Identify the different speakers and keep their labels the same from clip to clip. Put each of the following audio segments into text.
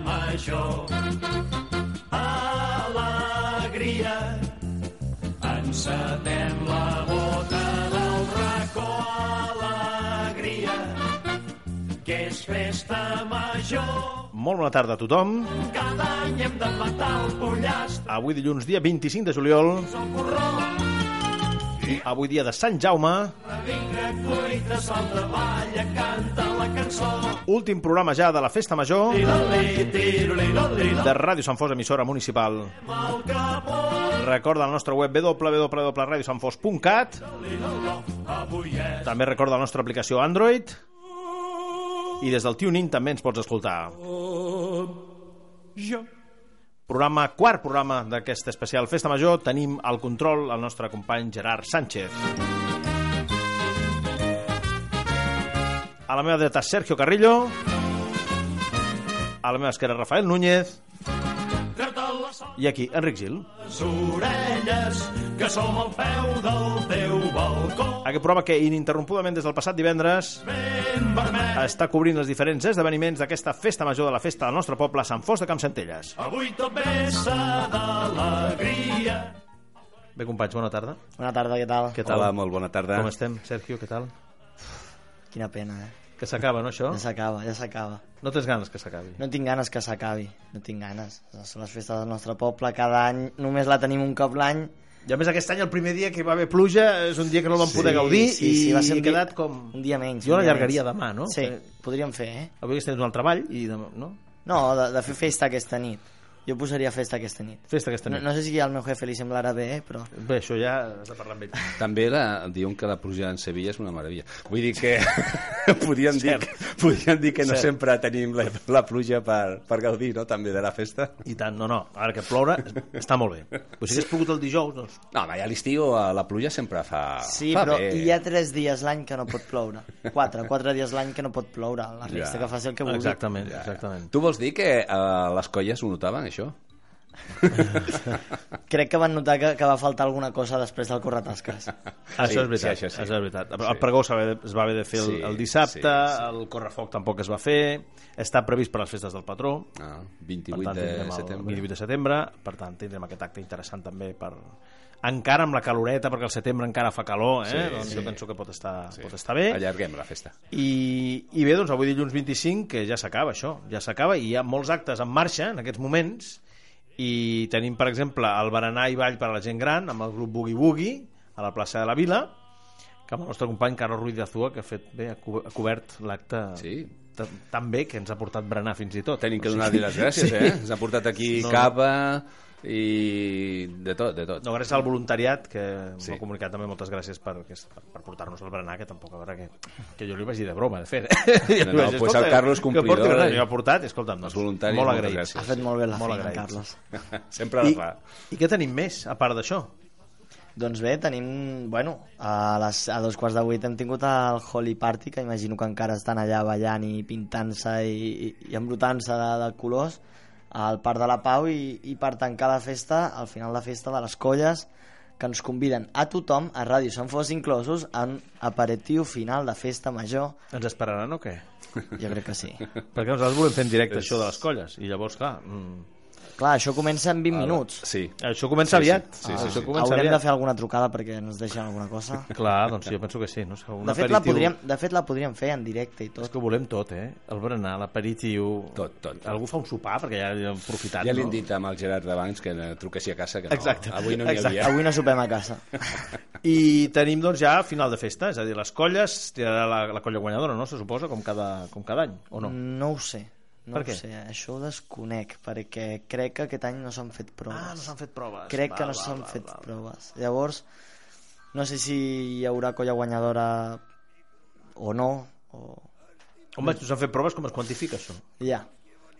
Speaker 1: major. Alegria, encetem la bota del racó. Alegria, que és festa major.
Speaker 2: Molt bona tarda a tothom.
Speaker 1: Cada any hem de matar el pollastre,
Speaker 2: Avui dilluns, dia 25 de juliol,
Speaker 1: el corró,
Speaker 2: avui dia de Sant Jaume,
Speaker 1: vinga, cuita, salta, balla, canta la cançó.
Speaker 2: últim programa ja de la Festa Major
Speaker 1: Tira-li, tira-li, tira-li,
Speaker 2: de Ràdio Sant Fos, emissora municipal.
Speaker 1: el capó.
Speaker 2: Recorda el nostre web www.radiosanfos.cat
Speaker 1: Avui és
Speaker 2: També recorda la nostra aplicació Android i des del TuneIn també ens pots escoltar.
Speaker 1: jo.
Speaker 2: Programa, quart programa d'aquesta especial Festa Major, tenim al control el nostre company Gerard Sánchez. A la meva dreta, Sergio Carrillo. A la meva esquerra, Rafael Núñez.
Speaker 1: Treu-te les
Speaker 2: I aquí, Enric Gil.
Speaker 1: orelles, que som al peu del teu balcó.
Speaker 2: Aquest programa que ininterrompudament des del passat divendres
Speaker 1: Ben vermell,
Speaker 2: està cobrint els diferents esdeveniments d'aquesta festa major de la festa del nostre poble, Sant Fos de Campsentelles.
Speaker 1: avui tot vessa d'alegria.
Speaker 2: Bé, companys, bona tarda.
Speaker 3: Bona tarda, què tal?
Speaker 2: Què tal?
Speaker 4: Hola, molt bona tarda.
Speaker 2: Com estem, Sergio? Què tal?
Speaker 3: Quina pena, eh?
Speaker 2: Que s'acaba, no, això?
Speaker 3: Ja s'acaba, ja s'acaba.
Speaker 2: No tens ganes que s'acabi.
Speaker 3: No tinc ganes que s'acabi, no tinc ganes. Són les festes del nostre poble, cada any només la tenim un cop l'any.
Speaker 2: I a més aquest any el primer dia que hi va haver pluja és un dia que no el vam poder gaudir i
Speaker 3: va ser un
Speaker 2: he
Speaker 3: dia-
Speaker 2: quedat com...
Speaker 3: Un dia menys.
Speaker 2: Jo
Speaker 3: un dia
Speaker 2: l'allargaria
Speaker 3: menys.
Speaker 2: demà, no?
Speaker 3: Sí,
Speaker 2: Eh,
Speaker 3: podríem fer, eh?
Speaker 2: Avui estem al treball i demà, no?
Speaker 3: No, de, de fer festa aquesta nit. Jo posaria festa aquesta nit.
Speaker 2: Festa aquesta
Speaker 3: No,
Speaker 2: nit.
Speaker 3: no sé si al meu jefe li semblarà bé, eh, però...
Speaker 2: Bé, això ja has de parlar amb ell.
Speaker 4: També la, diuen que la pluja en Sevilla és una meravella. Vull dir que podríem, dir, podríem dir que no sempre tenim la, la pluja per, per gaudir, no?, també de la festa.
Speaker 2: I tant, no, no. Ara que ploure està molt bé. Però si hagués pogut el dijous, doncs...
Speaker 4: No, home, ja a l'estiu eh, la pluja sempre fa,
Speaker 3: Sí,
Speaker 4: fa
Speaker 3: però
Speaker 4: bé.
Speaker 3: hi ha tres dies l'any que no pot ploure. Quatre, quatre dies l'any que no pot ploure. La resta
Speaker 4: Ja.
Speaker 3: que faci el que vulgui.
Speaker 2: Exactament, exactament.
Speaker 4: Tu vols dir que eh, les colles ho notaven, això?
Speaker 3: Crec que van notar que, que va faltar alguna cosa després del corretasques.
Speaker 2: Això és veritat,
Speaker 4: Sí, això sí.
Speaker 2: és veritat. El pregó s'ha de- es va haver de fer el,
Speaker 4: Sí,
Speaker 2: el dissabte,
Speaker 4: sí, sí.
Speaker 2: el correfoc tampoc es va fer, està previst per les festes del patró,
Speaker 4: Ah,
Speaker 2: per
Speaker 4: 28
Speaker 2: tant,
Speaker 4: de
Speaker 2: tindrem el
Speaker 4: setembre.
Speaker 2: 28 de setembre, per tant, tindrem aquest acte interessant també per encara amb la caloreta, perquè el setembre encara fa calor, eh?
Speaker 4: Sí,
Speaker 2: doncs
Speaker 4: sí.
Speaker 2: jo penso que pot estar, pot estar bé.
Speaker 4: Allarguem la festa.
Speaker 2: I, I bé, doncs avui dilluns 25, que ja s'acaba això, ja s'acaba, i hi ha molts actes en marxa en aquests moments, i tenim, per exemple, el berenar i ball per a la gent gran, amb el grup Boogie Boogie, a la plaça de la Vila, que amb el nostre company Carlos Ruiz de Azúa, que ha fet bé, ha co- ha cobert l'acte
Speaker 4: Sí.
Speaker 2: ta- tan bé que ens ha portat berenar fins i tot.
Speaker 4: Tenim que donar-li les gràcies, eh? Ens ha portat aquí
Speaker 2: No.
Speaker 4: cava i de tot, de tot.
Speaker 2: No, gràcies al voluntariat, que sí.
Speaker 4: Sí.
Speaker 2: m'ha comunicat també moltes gràcies per, aquest- per, per portar-nos al berenar, que tampoc a veure que, que jo li vaig dir de broma, de fet. No,
Speaker 4: no, pues el Carlos complidor, eh?
Speaker 2: Jo ha portat, i escolta'm,
Speaker 4: Els
Speaker 2: doncs,
Speaker 4: voluntaris,
Speaker 2: molt
Speaker 4: moltes
Speaker 2: agraït.
Speaker 4: gràcies.
Speaker 3: Ha fet molt bé la
Speaker 2: Molt
Speaker 3: feina,
Speaker 2: agraïts.
Speaker 3: Carles.
Speaker 4: Sempre la
Speaker 2: I,
Speaker 4: fa.
Speaker 2: I què tenim més, a part d'això?
Speaker 3: Doncs bé, tenim... Bueno, a, les, a dos quarts de vuit hem tingut el Holy Party, que imagino que encara estan allà ballant i pintant-se i, i, i embrutant-se de, de colors al Parc de la Pau i, i per tancar la festa, al final la festa de les colles, que ens conviden a tothom, a Ràdio Sant Fos inclosos, en aperitiu final de festa major.
Speaker 2: Ens esperaran o què?
Speaker 3: Jo crec que sí.
Speaker 2: Perquè nosaltres volem fer en directe això de les colles, i llavors, clar, mm,
Speaker 3: Clar, això comença en 20 minuts.
Speaker 4: Sí.
Speaker 2: això comença aviat. Ah,
Speaker 4: sí, sí, sí.
Speaker 2: això comença
Speaker 3: Haurem
Speaker 2: aviat.
Speaker 3: de fer alguna trucada perquè ens deixen alguna cosa.
Speaker 2: Clar, doncs jo penso que sí. No? sé, Un
Speaker 3: De fet, la podríem, de fet, la podríem fer en directe i
Speaker 2: És
Speaker 3: tot.
Speaker 2: que ho volem tot, eh? El berenar, l'aperitiu...
Speaker 4: Tot, tot.
Speaker 2: Algú fa un sopar, perquè ja hem aprofitat,
Speaker 4: Ja li hem
Speaker 2: no?
Speaker 4: dit amb el Gerard d'abans que eh, truquessi a casa, que no,
Speaker 2: Exacte.
Speaker 4: avui no n'hi
Speaker 2: Exacte.
Speaker 4: havia.
Speaker 3: Avui no sopem a casa.
Speaker 2: I tenim, doncs, ja final de festa, és a dir, les colles, tirarà la, la colla guanyadora, no? Se suposa, com cada, com cada any, o no?
Speaker 3: No ho sé. No ho
Speaker 2: Per què?
Speaker 3: sé, això ho desconec, perquè crec que aquest any no s'han fet proves.
Speaker 2: Ah, fet proves.
Speaker 3: crec que no s'han fet proves. Llavors, no sé si hi haurà colla guanyadora o no, o...
Speaker 2: Home, si s'han fet proves, com es quantifica això?
Speaker 3: Ja,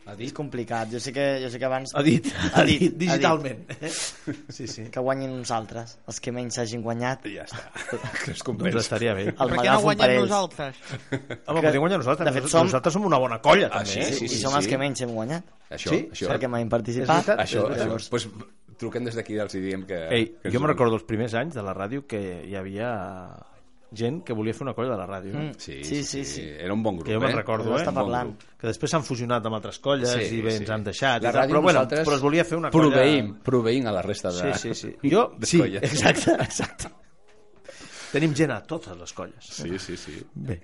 Speaker 4: Ha
Speaker 3: és
Speaker 4: dit?
Speaker 3: complicat. Jo sé que, jo sé que abans...
Speaker 2: Ha dit, ha dit,
Speaker 3: ha
Speaker 2: digitalment. Sí, sí.
Speaker 3: Que guanyin uns altres, els que menys hagin guanyat.
Speaker 4: Ja està. Que es
Speaker 2: Doncs
Speaker 4: compens.
Speaker 2: estaria bé.
Speaker 3: El
Speaker 5: Per què no
Speaker 3: m'agafo
Speaker 5: guanyem
Speaker 3: per ells.
Speaker 5: nosaltres?
Speaker 2: Home, podem guanyar nosaltres.
Speaker 3: de fet, som-
Speaker 2: Nosaltres som una bona colla,
Speaker 4: Ah,
Speaker 2: també.
Speaker 4: sí,
Speaker 2: eh?
Speaker 4: sí,
Speaker 3: I
Speaker 4: sí.
Speaker 3: som els que menys hem guanyat,
Speaker 4: Això,
Speaker 2: Sí?
Speaker 4: això.
Speaker 3: perquè mai hem
Speaker 2: És
Speaker 3: participat.
Speaker 2: veritat.
Speaker 4: Això,
Speaker 2: És
Speaker 4: això.
Speaker 2: veritat.
Speaker 4: Pues, truquem des d'aquí i els hi diem que...
Speaker 2: Ei,
Speaker 4: que ens
Speaker 2: jo
Speaker 4: ho-
Speaker 2: me'n recordo els primers anys de la ràdio que hi havia gent que volia fer una colla de la ràdio. Mm.
Speaker 4: Sí,
Speaker 3: Sí, sí, sí.
Speaker 4: Era un bon grup,
Speaker 2: Que jo me'n
Speaker 4: eh? Era
Speaker 2: recordo,
Speaker 4: un
Speaker 2: eh?
Speaker 4: bon
Speaker 3: Parlant.
Speaker 4: grup.
Speaker 2: Que després s'han fusionat amb altres colles
Speaker 4: Sí,
Speaker 2: i bé,
Speaker 4: sí.
Speaker 2: ens han deixat. i
Speaker 4: La
Speaker 2: tal,
Speaker 4: ràdio
Speaker 2: però, bueno,
Speaker 4: nosaltres
Speaker 2: però es volia fer una colla...
Speaker 4: proveïm, proveïm a la resta de...
Speaker 2: Sí, sí, sí. Jo,
Speaker 4: de
Speaker 2: sí,
Speaker 4: colles.
Speaker 2: exacte, exacte. Tenim gent a totes les colles.
Speaker 4: Sí, sí, sí.
Speaker 2: Bé.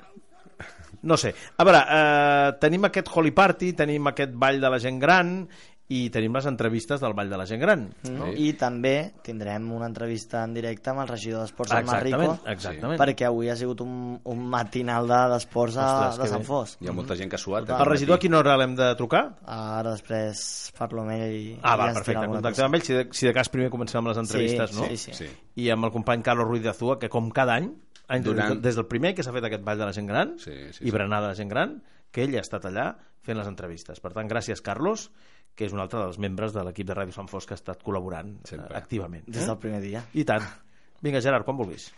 Speaker 2: No sé. A veure, eh, tenim aquest Holy Party, tenim aquest Ball de la Gent Gran i tenim les entrevistes del Ball de la Gent Gran.
Speaker 3: No?
Speaker 4: Sí.
Speaker 3: Mm-hmm. I també tindrem una entrevista en directe amb el regidor d'Esports, el
Speaker 2: exactament,
Speaker 3: Marrico,
Speaker 2: exactament.
Speaker 3: perquè avui ha sigut un, un matinal de- d'esports de,
Speaker 2: Ostres,
Speaker 3: de
Speaker 2: que
Speaker 3: Sant
Speaker 2: bé.
Speaker 3: Fos.
Speaker 4: Hi ha molta gent que ha suat. eh,
Speaker 2: El regidor a quina hora l'hem de trucar?
Speaker 3: Ara després parlo amb ell i... i
Speaker 2: Ah, va,
Speaker 3: ens dirà
Speaker 2: perfecte,
Speaker 3: alguna
Speaker 2: contactem amb ell. Si de, si de cas primer comencem amb les
Speaker 3: cosa.
Speaker 2: entrevistes, no?
Speaker 3: sí, sí, sí.
Speaker 4: Sí.
Speaker 2: I amb el company Carlos Ruiz de Azúa, que com cada any, any
Speaker 4: Durant-
Speaker 2: des del primer que s'ha fet aquest Ball de la Gent Gran
Speaker 4: Sí, sí,
Speaker 2: i
Speaker 4: sí.
Speaker 2: Berenar de la Gent Gran, que ell ha estat allà fent les entrevistes. Per tant, gràcies, Carlos, que és un altre dels membres de l'equip de Ràdio Sant Fos que ha estat col·laborant eh,
Speaker 4: Sempre.
Speaker 2: activament.
Speaker 3: Des del primer dia.
Speaker 2: I tant. Vinga, Gerard, quan vulguis.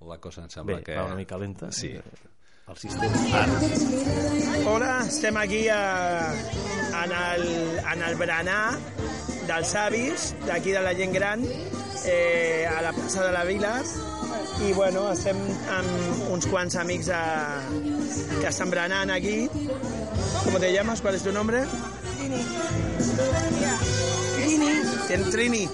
Speaker 4: La cosa em sembla
Speaker 2: Bé,
Speaker 4: que...
Speaker 2: va una mica lenta.
Speaker 4: Sí.
Speaker 2: El sistema.
Speaker 5: Hola, estem aquí a, en, el, en el berenar dels avis, d'aquí de la gent gran, eh, a la plaça de la Vila, i bueno, estem amb uns quants amics a, que estan berenant aquí. ¿Cómo te llamas? ¿Cuál es tu nombre? Trini. Trini.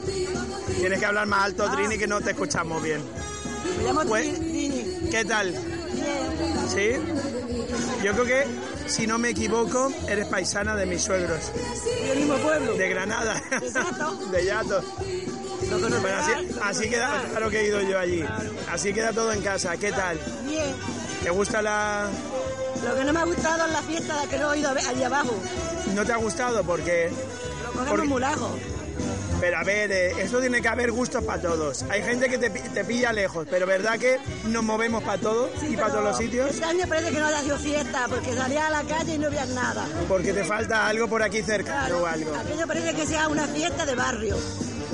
Speaker 5: Tienes que hablar más alto, Trini, que no te escuchamos bien.
Speaker 6: Me Ah. llamo
Speaker 5: Pues-
Speaker 6: Trini.
Speaker 5: ¿Qué tal?
Speaker 6: Bien.
Speaker 5: ¿Sí? Yo creo que, si no me equivoco, eres paisana de mis suegros,
Speaker 6: Del mismo pueblo.
Speaker 5: de Granada.
Speaker 6: De Yato.
Speaker 5: De Yato.
Speaker 6: Lo conocerás,
Speaker 5: Bueno, así,
Speaker 6: lo
Speaker 5: así queda,
Speaker 6: conocerás.
Speaker 5: claro que he ido yo allí. Así queda todo en casa. ¿Qué tal?
Speaker 6: Bien.
Speaker 5: ¿Te gusta la...?
Speaker 6: Lo que no me ha gustado es la fiesta a la que no he ido a ver allí abajo.
Speaker 5: ¿No te ha gustado? Porque...
Speaker 6: Lo cogemos
Speaker 5: Porque-
Speaker 6: muy lejos.
Speaker 5: Pero a ver, eh, esto tiene que haber gustos para todos. Hay gente que te, pi- te pilla lejos, pero ¿verdad que nos movemos para todo
Speaker 6: Sí,
Speaker 5: y para
Speaker 6: pero
Speaker 5: todos los sitios?
Speaker 6: Este año parece que no haya sido fiesta porque salía a la calle y no veías nada.
Speaker 5: Porque te falta algo por aquí cerca o algo.
Speaker 6: Aquello parece que sea una fiesta de barrio,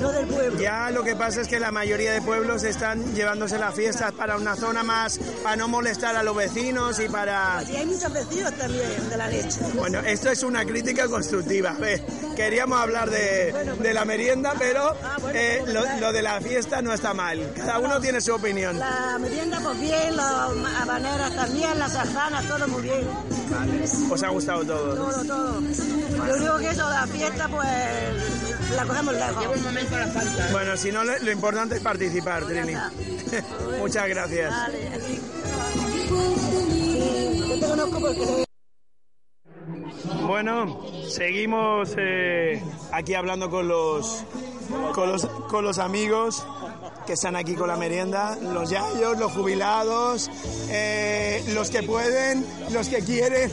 Speaker 6: no del pueblo.
Speaker 5: Ya lo que pasa es que la mayoría de pueblos están llevándose las fiestas para una zona más, para no molestar a los vecinos y para...
Speaker 6: Allí hay muchos vecinos también de la leche.
Speaker 5: Bueno, esto es una crítica constructiva. A ver, queríamos hablar de, de la merienda, pero eh, lo, lo de la fiesta no está mal. Cada uno tiene su opinión.
Speaker 6: La merienda, pues bien, las ma- habaneras también, las sardanas, todo muy bien.
Speaker 5: Os ha gustado todo.
Speaker 6: Todo, todo. Lo único que eso, la fiesta, pues la cogemos lejos.
Speaker 5: Bueno, si no, lo, lo importante es participar, Trini. Muchas gracias.
Speaker 6: Vale. Sí, yo te conozco porque
Speaker 5: Bueno, seguimos eh, aquí hablando con los, con los con los amigos que están aquí con la merienda, los yayos, los jubilados, eh, los que pueden, los que quieren.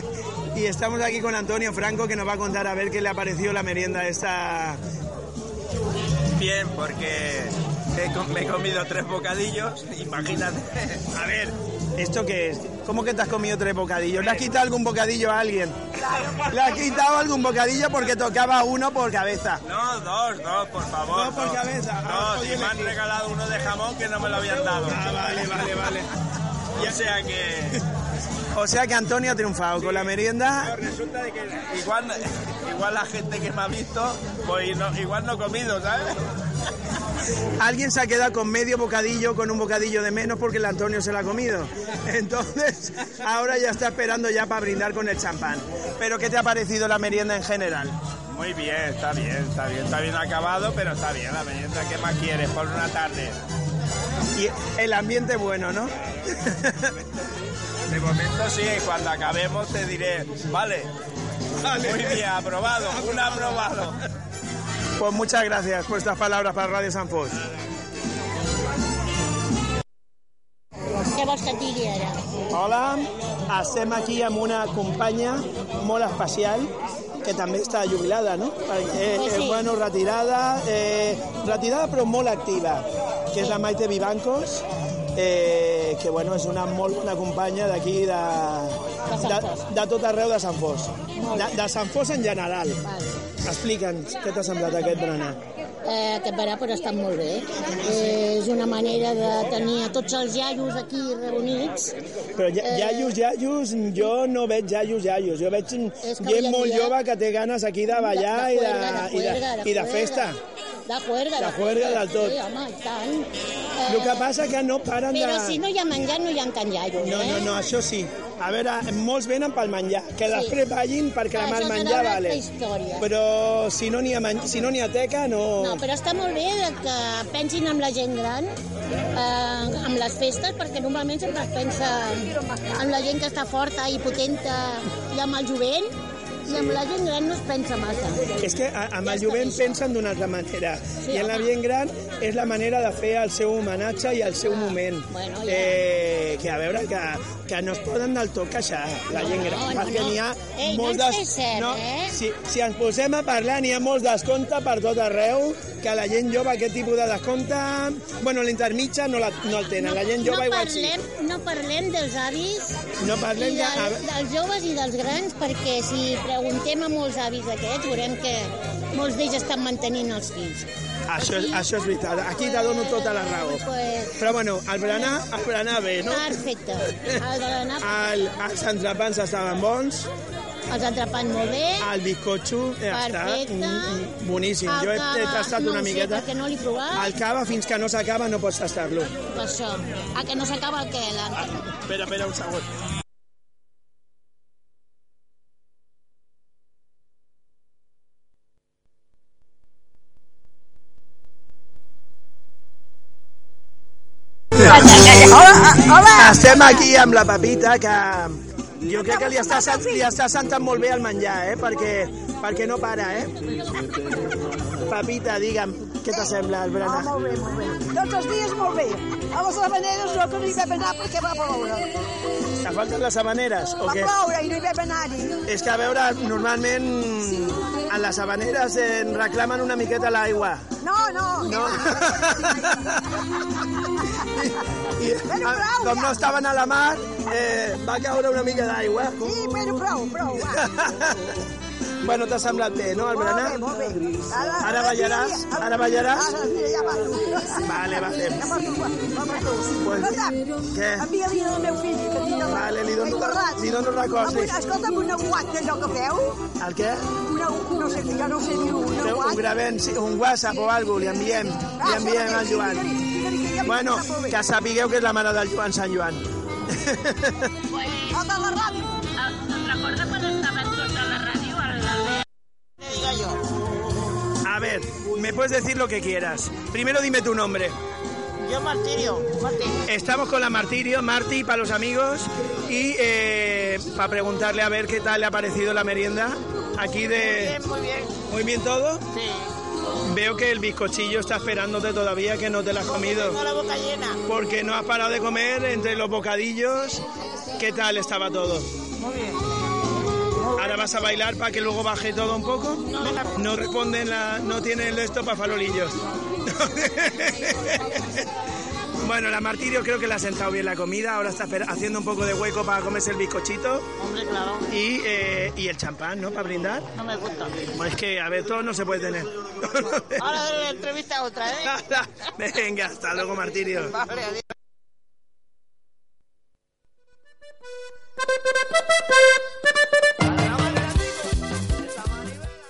Speaker 5: y estamos aquí con Antonio Franco que nos va a contar a ver qué le ha parecido la merienda esta.
Speaker 7: Bien, porque he com- me he comido tres bocadillos, imagínate.
Speaker 5: A ver, ¿esto qué es? ¿Cómo que te has comido tres bocadillos? ¿Le has quitado algún bocadillo a alguien? ¿Le has quitado algún bocadillo porque tocaba uno por cabeza?
Speaker 7: No, dos, dos, por favor.
Speaker 5: Dos por cabeza.
Speaker 7: Dos,
Speaker 5: Ah, podía
Speaker 7: y me han
Speaker 5: elegir.
Speaker 7: regalado uno de jamón que no me lo habían dado.
Speaker 5: Ah, vale, vale, vale.
Speaker 7: O sea que
Speaker 5: O sea que Antonio ha triunfado con la merienda.
Speaker 7: resulta de que igual, igual la gente que me ha visto, pues no- igual no he comido, ¿sabes?
Speaker 5: Alguien se ha quedado con medio bocadillo, con un bocadillo de menos porque el Antonio se lo ha comido. Entonces, ahora ya está esperando ya para brindar con el champán. Pero ¿qué te ha parecido la merienda en general?
Speaker 7: Muy bien, está bien, está bien, está bien acabado, pero está bien la merienda. ¿Qué más quieres por una tarde?
Speaker 5: Y el ambiente bueno, ¿no?
Speaker 7: De momento sí, cuando acabemos te diré, vale, muy bien, aprobado, un aprobado.
Speaker 5: Pues muchas gracias por estas palabras para Radio San Fos.
Speaker 8: Què vols que et digui ara?
Speaker 5: Hola, estem aquí amb una companya molt especial que també està jubilada, no? Perquè, eh,
Speaker 8: Pues sí.
Speaker 5: eh, bueno, retirada, eh, retirada però molt activa, que és la Maite Vivancos, eh, que bueno, és una molt bona companya d'aquí de,
Speaker 8: De Sant
Speaker 5: de,
Speaker 8: Fost.
Speaker 5: de tot arreu de Sant Fos.
Speaker 8: Molt
Speaker 5: De,
Speaker 8: bé.
Speaker 5: de Sant Fos en general.
Speaker 8: Vale.
Speaker 5: Explica'ns què t'ha semblat aquest berenar.
Speaker 8: eh, aquest verà però ha estat molt bé. Eh, és una manera de tenir a tots els iaios aquí reunits.
Speaker 5: Però ja, iaios, iaios, jo no veig iaios, iaios. Jo veig
Speaker 8: Eh, És que
Speaker 5: gent
Speaker 8: avui en
Speaker 5: molt
Speaker 8: dia-
Speaker 5: jove que té ganes aquí de ballar i de, i de, i de
Speaker 8: juerga.
Speaker 5: festa.
Speaker 8: De juerga,
Speaker 5: De juerga del tot.
Speaker 8: Sí, home, i tant. Eh,
Speaker 5: El que passa que no paren de...
Speaker 8: Però si no hi ha menjar, no hi ha tant iaios,
Speaker 5: No,
Speaker 8: eh?
Speaker 5: no, no, això sí. A veure, molts venen pel menjar, que
Speaker 8: Sí.
Speaker 5: després vagin per cremar
Speaker 8: Això
Speaker 5: el
Speaker 8: serà
Speaker 5: menjar,
Speaker 8: una altra
Speaker 5: vale.
Speaker 8: història.
Speaker 5: Però si no n'hi ha, men- si no n'hi ha teca, no...
Speaker 8: No, però està molt bé de que pensin amb la gent gran, eh, amb les festes, perquè normalment sempre es pensa amb la gent que està forta i potenta i amb el jovent, i amb la gent gran no es pensa massa.
Speaker 5: És que a- amb
Speaker 8: Ja
Speaker 5: el
Speaker 8: està
Speaker 5: jovent
Speaker 8: bé, això.
Speaker 5: pensen d'una altra manera.
Speaker 8: Sí,
Speaker 5: I en la
Speaker 8: home.
Speaker 5: gent gran és la manera de fer el seu homenatge i el seu moment.
Speaker 8: Ah, bueno, ja.
Speaker 5: eh, que a veure, que, que no es poden del tot queixar, la gent gran.
Speaker 8: no, no,
Speaker 5: perquè
Speaker 8: no.
Speaker 5: n'hi ha
Speaker 8: Ei, no
Speaker 5: molts
Speaker 8: ens
Speaker 5: des-
Speaker 8: queixem,
Speaker 5: no,
Speaker 8: eh?
Speaker 5: si, si ens posem a parlar, n'hi ha molts descompte per tot arreu, que la gent jove aquest tipus de descompte... Bueno, l'intermitja no, la, no el tenen, la gent
Speaker 8: no
Speaker 5: jove igual sí.
Speaker 8: parlem, no parlem dels avis
Speaker 5: No
Speaker 8: i
Speaker 5: parlem que...
Speaker 8: del, dels joves i dels grans, perquè si preguntem a molts avis d'aquests, veurem que molts d'ells estan mantenint els fills.
Speaker 5: Això,
Speaker 8: Aquí-
Speaker 5: això és veritat, aquí te dono tota la raó.
Speaker 8: Pues,
Speaker 5: Però bueno, el berenar, el berenar bé, no? Ah,
Speaker 8: Perfecte. El de l'anar,
Speaker 5: El, els entrepans estaven bons,
Speaker 8: els entrepans molt bé.
Speaker 5: el bizcotxo eh, Ah, està
Speaker 8: Perfecte.
Speaker 5: mm, boníssim.
Speaker 8: El
Speaker 5: Jo he, he
Speaker 8: cava,
Speaker 5: tastat
Speaker 8: no
Speaker 5: una
Speaker 8: ho sé,
Speaker 5: miqueta. Ah.
Speaker 8: perquè no l'he provat.
Speaker 5: El cava, fins que no s'acaba, no pots tastar-lo.
Speaker 8: Per això. A que no s'acaba el que... La...
Speaker 5: Espera, espera un segon.
Speaker 6: Hola, hola.
Speaker 5: Estem aquí amb la Pepita, que jo crec que li està, sent- li està sentant molt bé el menjar, eh? Perquè, perquè no para, eh? Pepita, digue'm, què t'assembla el
Speaker 6: Ah,
Speaker 5: berenar?
Speaker 6: molt bé, molt bé. Tots els dies molt bé. A les habaneres no, que no hi vam anar perquè va ploure.
Speaker 5: Te falten les habaneres o
Speaker 6: Va
Speaker 5: què?
Speaker 6: ploure i no hi vam anar-hi.
Speaker 5: És que a veure, normalment a les habaneres en reclamen una miqueta l'aigua.
Speaker 6: No, no.
Speaker 5: No. I, ah,
Speaker 6: Bueno, prou,
Speaker 5: com
Speaker 6: ja.
Speaker 5: no estaven a la mar, eh, va caure una mica d'aigua.
Speaker 6: Sí, però prou, prou, va.
Speaker 5: Bueno, t'ha semblat bé, no,
Speaker 6: Molt
Speaker 5: el
Speaker 6: bé,
Speaker 5: berenar?
Speaker 6: molt bé. Ara,
Speaker 5: Ara ballaràs? Ara ballaràs?
Speaker 6: Ara, mira, ja parlo.
Speaker 5: Vale, vale.
Speaker 6: Ja parlo, va, va,
Speaker 5: Pues,
Speaker 6: va.
Speaker 5: què?
Speaker 6: Envia-li al meu fill, que tinc el...
Speaker 5: Vale, li dono- li dono records, sí.
Speaker 6: Escolta'm, un aguat d'allò que feu,
Speaker 5: El què?
Speaker 6: una, no sé, jo no sé dir un
Speaker 5: Que Un
Speaker 6: aguat.
Speaker 5: gravem, sí, un whatsapp o alguna cosa, li enviem, li
Speaker 6: Ah,
Speaker 5: enviem al Joan. Bueno, que sapigueu que és la mare del Joan Sant Joan.
Speaker 6: Escolta la ràdio.
Speaker 5: A ver, me puedes decir lo que quieras. Primero dime tu nombre.
Speaker 9: Yo Martirio, Martín.
Speaker 5: Estamos con la Martirio, Marti, para los amigos, y eh, para preguntarle a ver qué tal le ha parecido la merienda aquí de...
Speaker 9: Bien, muy bien.
Speaker 5: Muy bien todo.
Speaker 9: Sí.
Speaker 5: Veo que el bizcochillo está esperándote todavía, que no te lo has
Speaker 9: Tengo
Speaker 5: comido,
Speaker 9: la boca llena.
Speaker 5: porque no has parado de comer entre los bocadillos. ¿Qué tal estaba todo?
Speaker 9: Muy bien.
Speaker 5: Ahora vas a bailar para que luego baje todo un poco.
Speaker 9: No, no, no.
Speaker 5: No responden la, no tienen esto para farolillos. bueno, la Martirio creo que le ha sentado bien la comida. Ahora está esper- haciendo un poco de hueco para comerse el bizcochito
Speaker 9: Hombre, claro.
Speaker 5: y, eh, y el champán, ¿no? Para brindar.
Speaker 9: No me gusta.
Speaker 5: Pues es que, a ver, todo no se puede tener.
Speaker 9: Ahora de la entrevista otra,
Speaker 5: Ah.
Speaker 9: ¿eh?
Speaker 5: Venga, hasta luego, Martirio.
Speaker 9: Vale, adiós.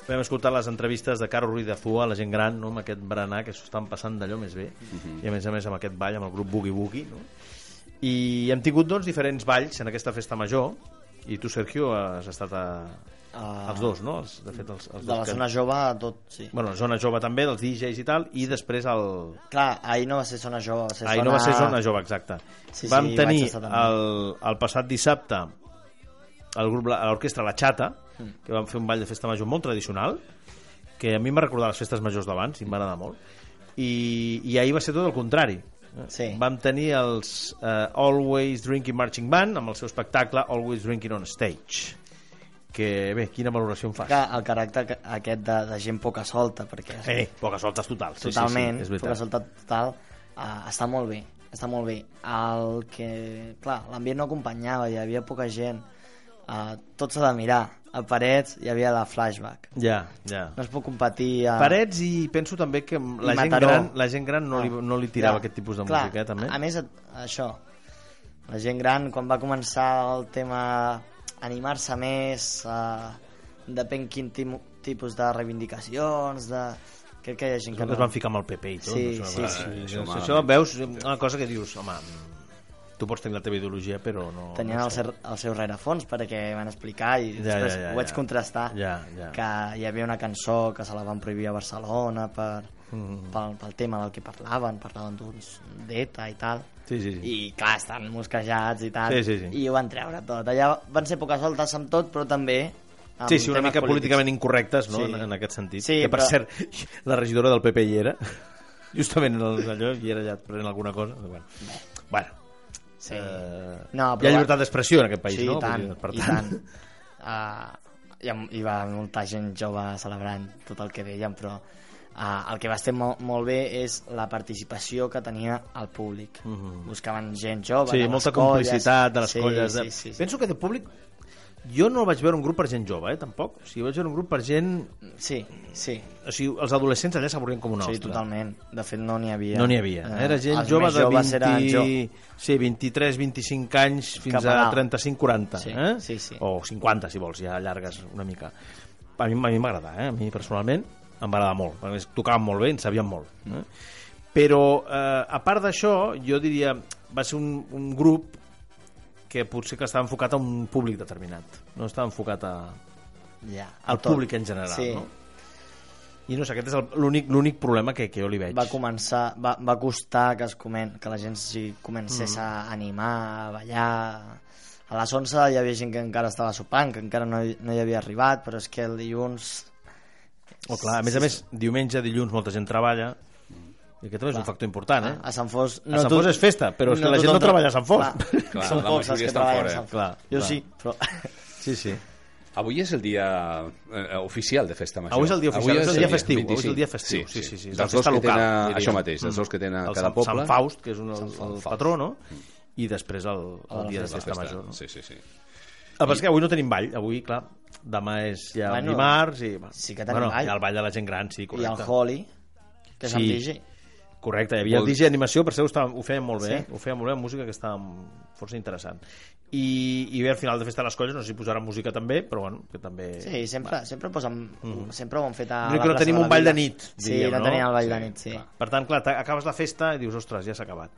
Speaker 2: Vam escoltar les entrevistes de Caro Ruiz de Zúa, la gent gran, no? amb aquest berenar que s'ho estan passant d'allò més bé, i a més a més amb aquest ball, amb el grup Boogie Boogie. No? I hem tingut doncs, diferents balls en aquesta festa major, i tu, Sergio, has estat a...
Speaker 3: Ah.
Speaker 2: els dos, no? Els, de fet, els, els
Speaker 3: De la
Speaker 2: dos
Speaker 3: zona
Speaker 2: Doncs que...
Speaker 3: jove, tot, sí.
Speaker 2: Bueno, zona jove també, dels DJs i tal, i després el,
Speaker 3: Clar, ahir no va ser zona jove, va ser
Speaker 2: Ahir
Speaker 3: zona...
Speaker 2: no va ser zona jove, exacte.
Speaker 3: Sí, sí,
Speaker 2: Vam
Speaker 3: vaig
Speaker 2: tenir
Speaker 3: estar també.
Speaker 2: el, el passat dissabte el grup, la- l'orquestra La Xata,
Speaker 3: Mm.
Speaker 2: que van fer un ball de festa major molt tradicional, que a mi m'ha recordat les festes majors d'abans i em va agradar molt. I, I ahir va ser tot el contrari.
Speaker 3: Sí.
Speaker 2: Vam tenir els eh, Always Drinking Marching Band amb el seu espectacle Always Drinking on Stage. Que bé, quina valoració em fas?
Speaker 3: Que el caràcter que- aquest de, de gent poca solta, perquè
Speaker 2: Eh, poques soltes total. Sí,
Speaker 3: totalment,
Speaker 2: sí, sí, és
Speaker 3: poca
Speaker 2: veritat.
Speaker 3: solta total, ah, està molt bé, està molt bé. El que, clar, l'ambient no acompanyava, hi havia poca gent, eh, tot s'ha de mirar. A Parets hi havia la flashback.
Speaker 2: Ja, ja.
Speaker 3: No es pot competir a...
Speaker 2: Parets i penso també que la gent,
Speaker 3: Mataró.
Speaker 2: gran, la gent gran no li, no li
Speaker 3: Ah.
Speaker 2: tirava
Speaker 3: Ja.
Speaker 2: aquest tipus de
Speaker 3: Clar,
Speaker 2: música, eh, també.
Speaker 3: A, a més, et- això, la gent gran, quan va començar el tema animar-se més, eh, depèn quin tim- tipus de reivindicacions, de... Crec que hi ha gent que
Speaker 2: que es van ficar amb el PP i tot.
Speaker 3: Sí,
Speaker 2: no sé,
Speaker 3: sí,
Speaker 2: va,
Speaker 3: sí. doncs.
Speaker 2: Això, això, això veus eh, una cosa que dius, home, tu pots tenir la teva ideologia, però no...
Speaker 3: tenien
Speaker 2: no
Speaker 3: el, seu, el seu rerefons perquè van explicar i ja,
Speaker 2: Ja,
Speaker 3: després
Speaker 2: ja, ja,
Speaker 3: ho vaig
Speaker 2: ja.
Speaker 3: contrastar
Speaker 2: Ja, ja.
Speaker 3: que hi havia una cançó que se la van prohibir a Barcelona per,
Speaker 2: Mm.
Speaker 3: pel, pel tema del que parlaven parlaven d'uns d'ETA i tal
Speaker 2: Sí, sí, sí.
Speaker 3: i clar, estan mosquejats i tal
Speaker 2: Sí, sí, sí.
Speaker 3: i ho van treure tot allà van ser poques voltes amb tot però també amb
Speaker 2: Sí, sí, una
Speaker 3: temes
Speaker 2: mica
Speaker 3: polítics.
Speaker 2: políticament incorrectes, no?,
Speaker 3: Sí.
Speaker 2: en, en aquest sentit.
Speaker 3: Sí,
Speaker 2: que, per
Speaker 3: però-
Speaker 2: cert, la regidora del PP hi era, justament en els allò, i era allà prenent alguna cosa. Bueno, bueno
Speaker 3: sí.
Speaker 2: eh,
Speaker 3: No,
Speaker 2: hi
Speaker 3: però
Speaker 2: ha
Speaker 3: va-
Speaker 2: llibertat d'expressió en aquest país,
Speaker 3: sí,
Speaker 2: no?
Speaker 3: i tant,
Speaker 2: Vull dir, per
Speaker 3: i tant. Uh, hi, ha- hi va molta gent jove celebrant tot el que deien, però uh, el que va estar molt, molt bé és la participació que tenia el públic. Buscaven gent jove,
Speaker 2: Mhm. Sí,
Speaker 3: de les
Speaker 2: molta
Speaker 3: colles.
Speaker 2: complicitat de les
Speaker 3: sí,
Speaker 2: colles. eh.
Speaker 3: Sí,
Speaker 2: De...
Speaker 3: sí, sí.
Speaker 2: Penso que de públic... Jo no vaig veure un grup per gent jove, eh, tampoc. O sigui, vaig veure un grup per gent...
Speaker 3: sí, sí,
Speaker 2: O sigui, els adolescents allà s'avorrien com una
Speaker 3: sí,
Speaker 2: ostra.
Speaker 3: totalment. De fet, no n'hi havia.
Speaker 2: No n'hi havia.
Speaker 3: Eh,
Speaker 2: Era gent
Speaker 3: els
Speaker 2: jove
Speaker 3: més
Speaker 2: de
Speaker 3: joves
Speaker 2: 20...
Speaker 3: eren jo.
Speaker 2: Sí, 23, 25 anys fins
Speaker 3: Cap a
Speaker 2: a,
Speaker 3: dalt.
Speaker 2: 35-40.
Speaker 3: Sí,
Speaker 2: eh?
Speaker 3: sí, sí.
Speaker 2: O 50, si vols, ja llargues una mica. A mi a mi m'agrada, eh? a mi personalment em va agradar molt. A més, tocaven molt bé, en sabien molt. Eh? Però, eh, a part d'això, jo diria, va ser un, un grup que potser que estava enfocat a un públic determinat. No estava enfocat a,
Speaker 3: Ja, a
Speaker 2: al
Speaker 3: tot.
Speaker 2: públic en general,
Speaker 3: sí.
Speaker 2: no? I no sé, aquest és el- l'únic l'únic problema que, que jo li veig.
Speaker 3: va començar, va, va costar que, es comen, que la gent s'hi comencés
Speaker 2: Mm.
Speaker 3: a animar, a ballar... A les 11 hi havia gent que encara estava sopant, que encara no, hi- no hi havia arribat, però és que el dilluns...
Speaker 2: Oh, clar, a més a més, diumenge, dilluns, molta gent treballa, i aquest també és un factor important, eh?
Speaker 3: Ah, A Sant Fos...
Speaker 2: A Sant
Speaker 3: tot-
Speaker 2: Fos és festa, però és que la gent
Speaker 3: tothom
Speaker 2: no treballa a Sant Fos.
Speaker 3: Clar,
Speaker 4: Clar,
Speaker 3: Són
Speaker 4: la
Speaker 3: pocs els
Speaker 4: majoria
Speaker 3: que
Speaker 4: estan
Speaker 3: treballen
Speaker 4: fora,
Speaker 3: a Sant Fos.
Speaker 2: clar,
Speaker 3: jo
Speaker 2: clar.
Speaker 3: sí, però...
Speaker 2: Sí, sí.
Speaker 4: Avui és el dia eh, oficial de festa major.
Speaker 2: Avui és el dia oficial, és el dia festiu, avui és el dia festiu, sí, sí, sí, és la
Speaker 4: Dels dos
Speaker 2: festa
Speaker 4: que
Speaker 2: local,
Speaker 4: tenen,
Speaker 2: diríem.
Speaker 4: això mateix, dels dos que tenen
Speaker 3: Ah,
Speaker 2: El
Speaker 4: cada
Speaker 2: Sant,
Speaker 4: poble.
Speaker 2: Sant Faust, que és un, el, el
Speaker 4: Faust.
Speaker 2: patró, no?
Speaker 3: Mm.
Speaker 2: I després el,
Speaker 3: Ah,
Speaker 2: el dia de
Speaker 4: la
Speaker 2: festa major. No?
Speaker 4: Sí, sí, sí.
Speaker 2: El que passa és que avui no tenim ball, avui, clar, demà és ja
Speaker 3: Bueno,
Speaker 2: dimarts i... va.
Speaker 3: sí que tenim
Speaker 2: bueno,
Speaker 3: ball.
Speaker 2: Hi ha el ball de la gent gran, sí,
Speaker 3: I el
Speaker 2: correcte.
Speaker 3: Holly, que és sí.
Speaker 2: Sí.
Speaker 3: amb DJ.
Speaker 2: Correcte, hi havia el
Speaker 4: Vol-
Speaker 2: DJ Animació, per ser ho, estava, ho feien molt bé,
Speaker 3: Sí.
Speaker 2: sí. eh? ho feien molt bé, amb música que estava força interessant. I, I bé, al final de Festa de les Colles, no sé si posarà música també, però bueno, que també...
Speaker 3: Sí, sempre, sempre, posen, sempre ho han fet a la
Speaker 2: L'únic Mm. que no
Speaker 3: plaça
Speaker 2: tenim
Speaker 3: de la
Speaker 2: un ball de
Speaker 3: Vila.
Speaker 2: nit,
Speaker 3: Sí,
Speaker 2: diríem,
Speaker 3: no,
Speaker 2: no?
Speaker 3: teníem el ball de
Speaker 4: Sí,
Speaker 3: nit, sí.
Speaker 4: clar.
Speaker 2: Per tant, clar, t'ha- acabes la festa i dius, ostres, ja s'ha acabat.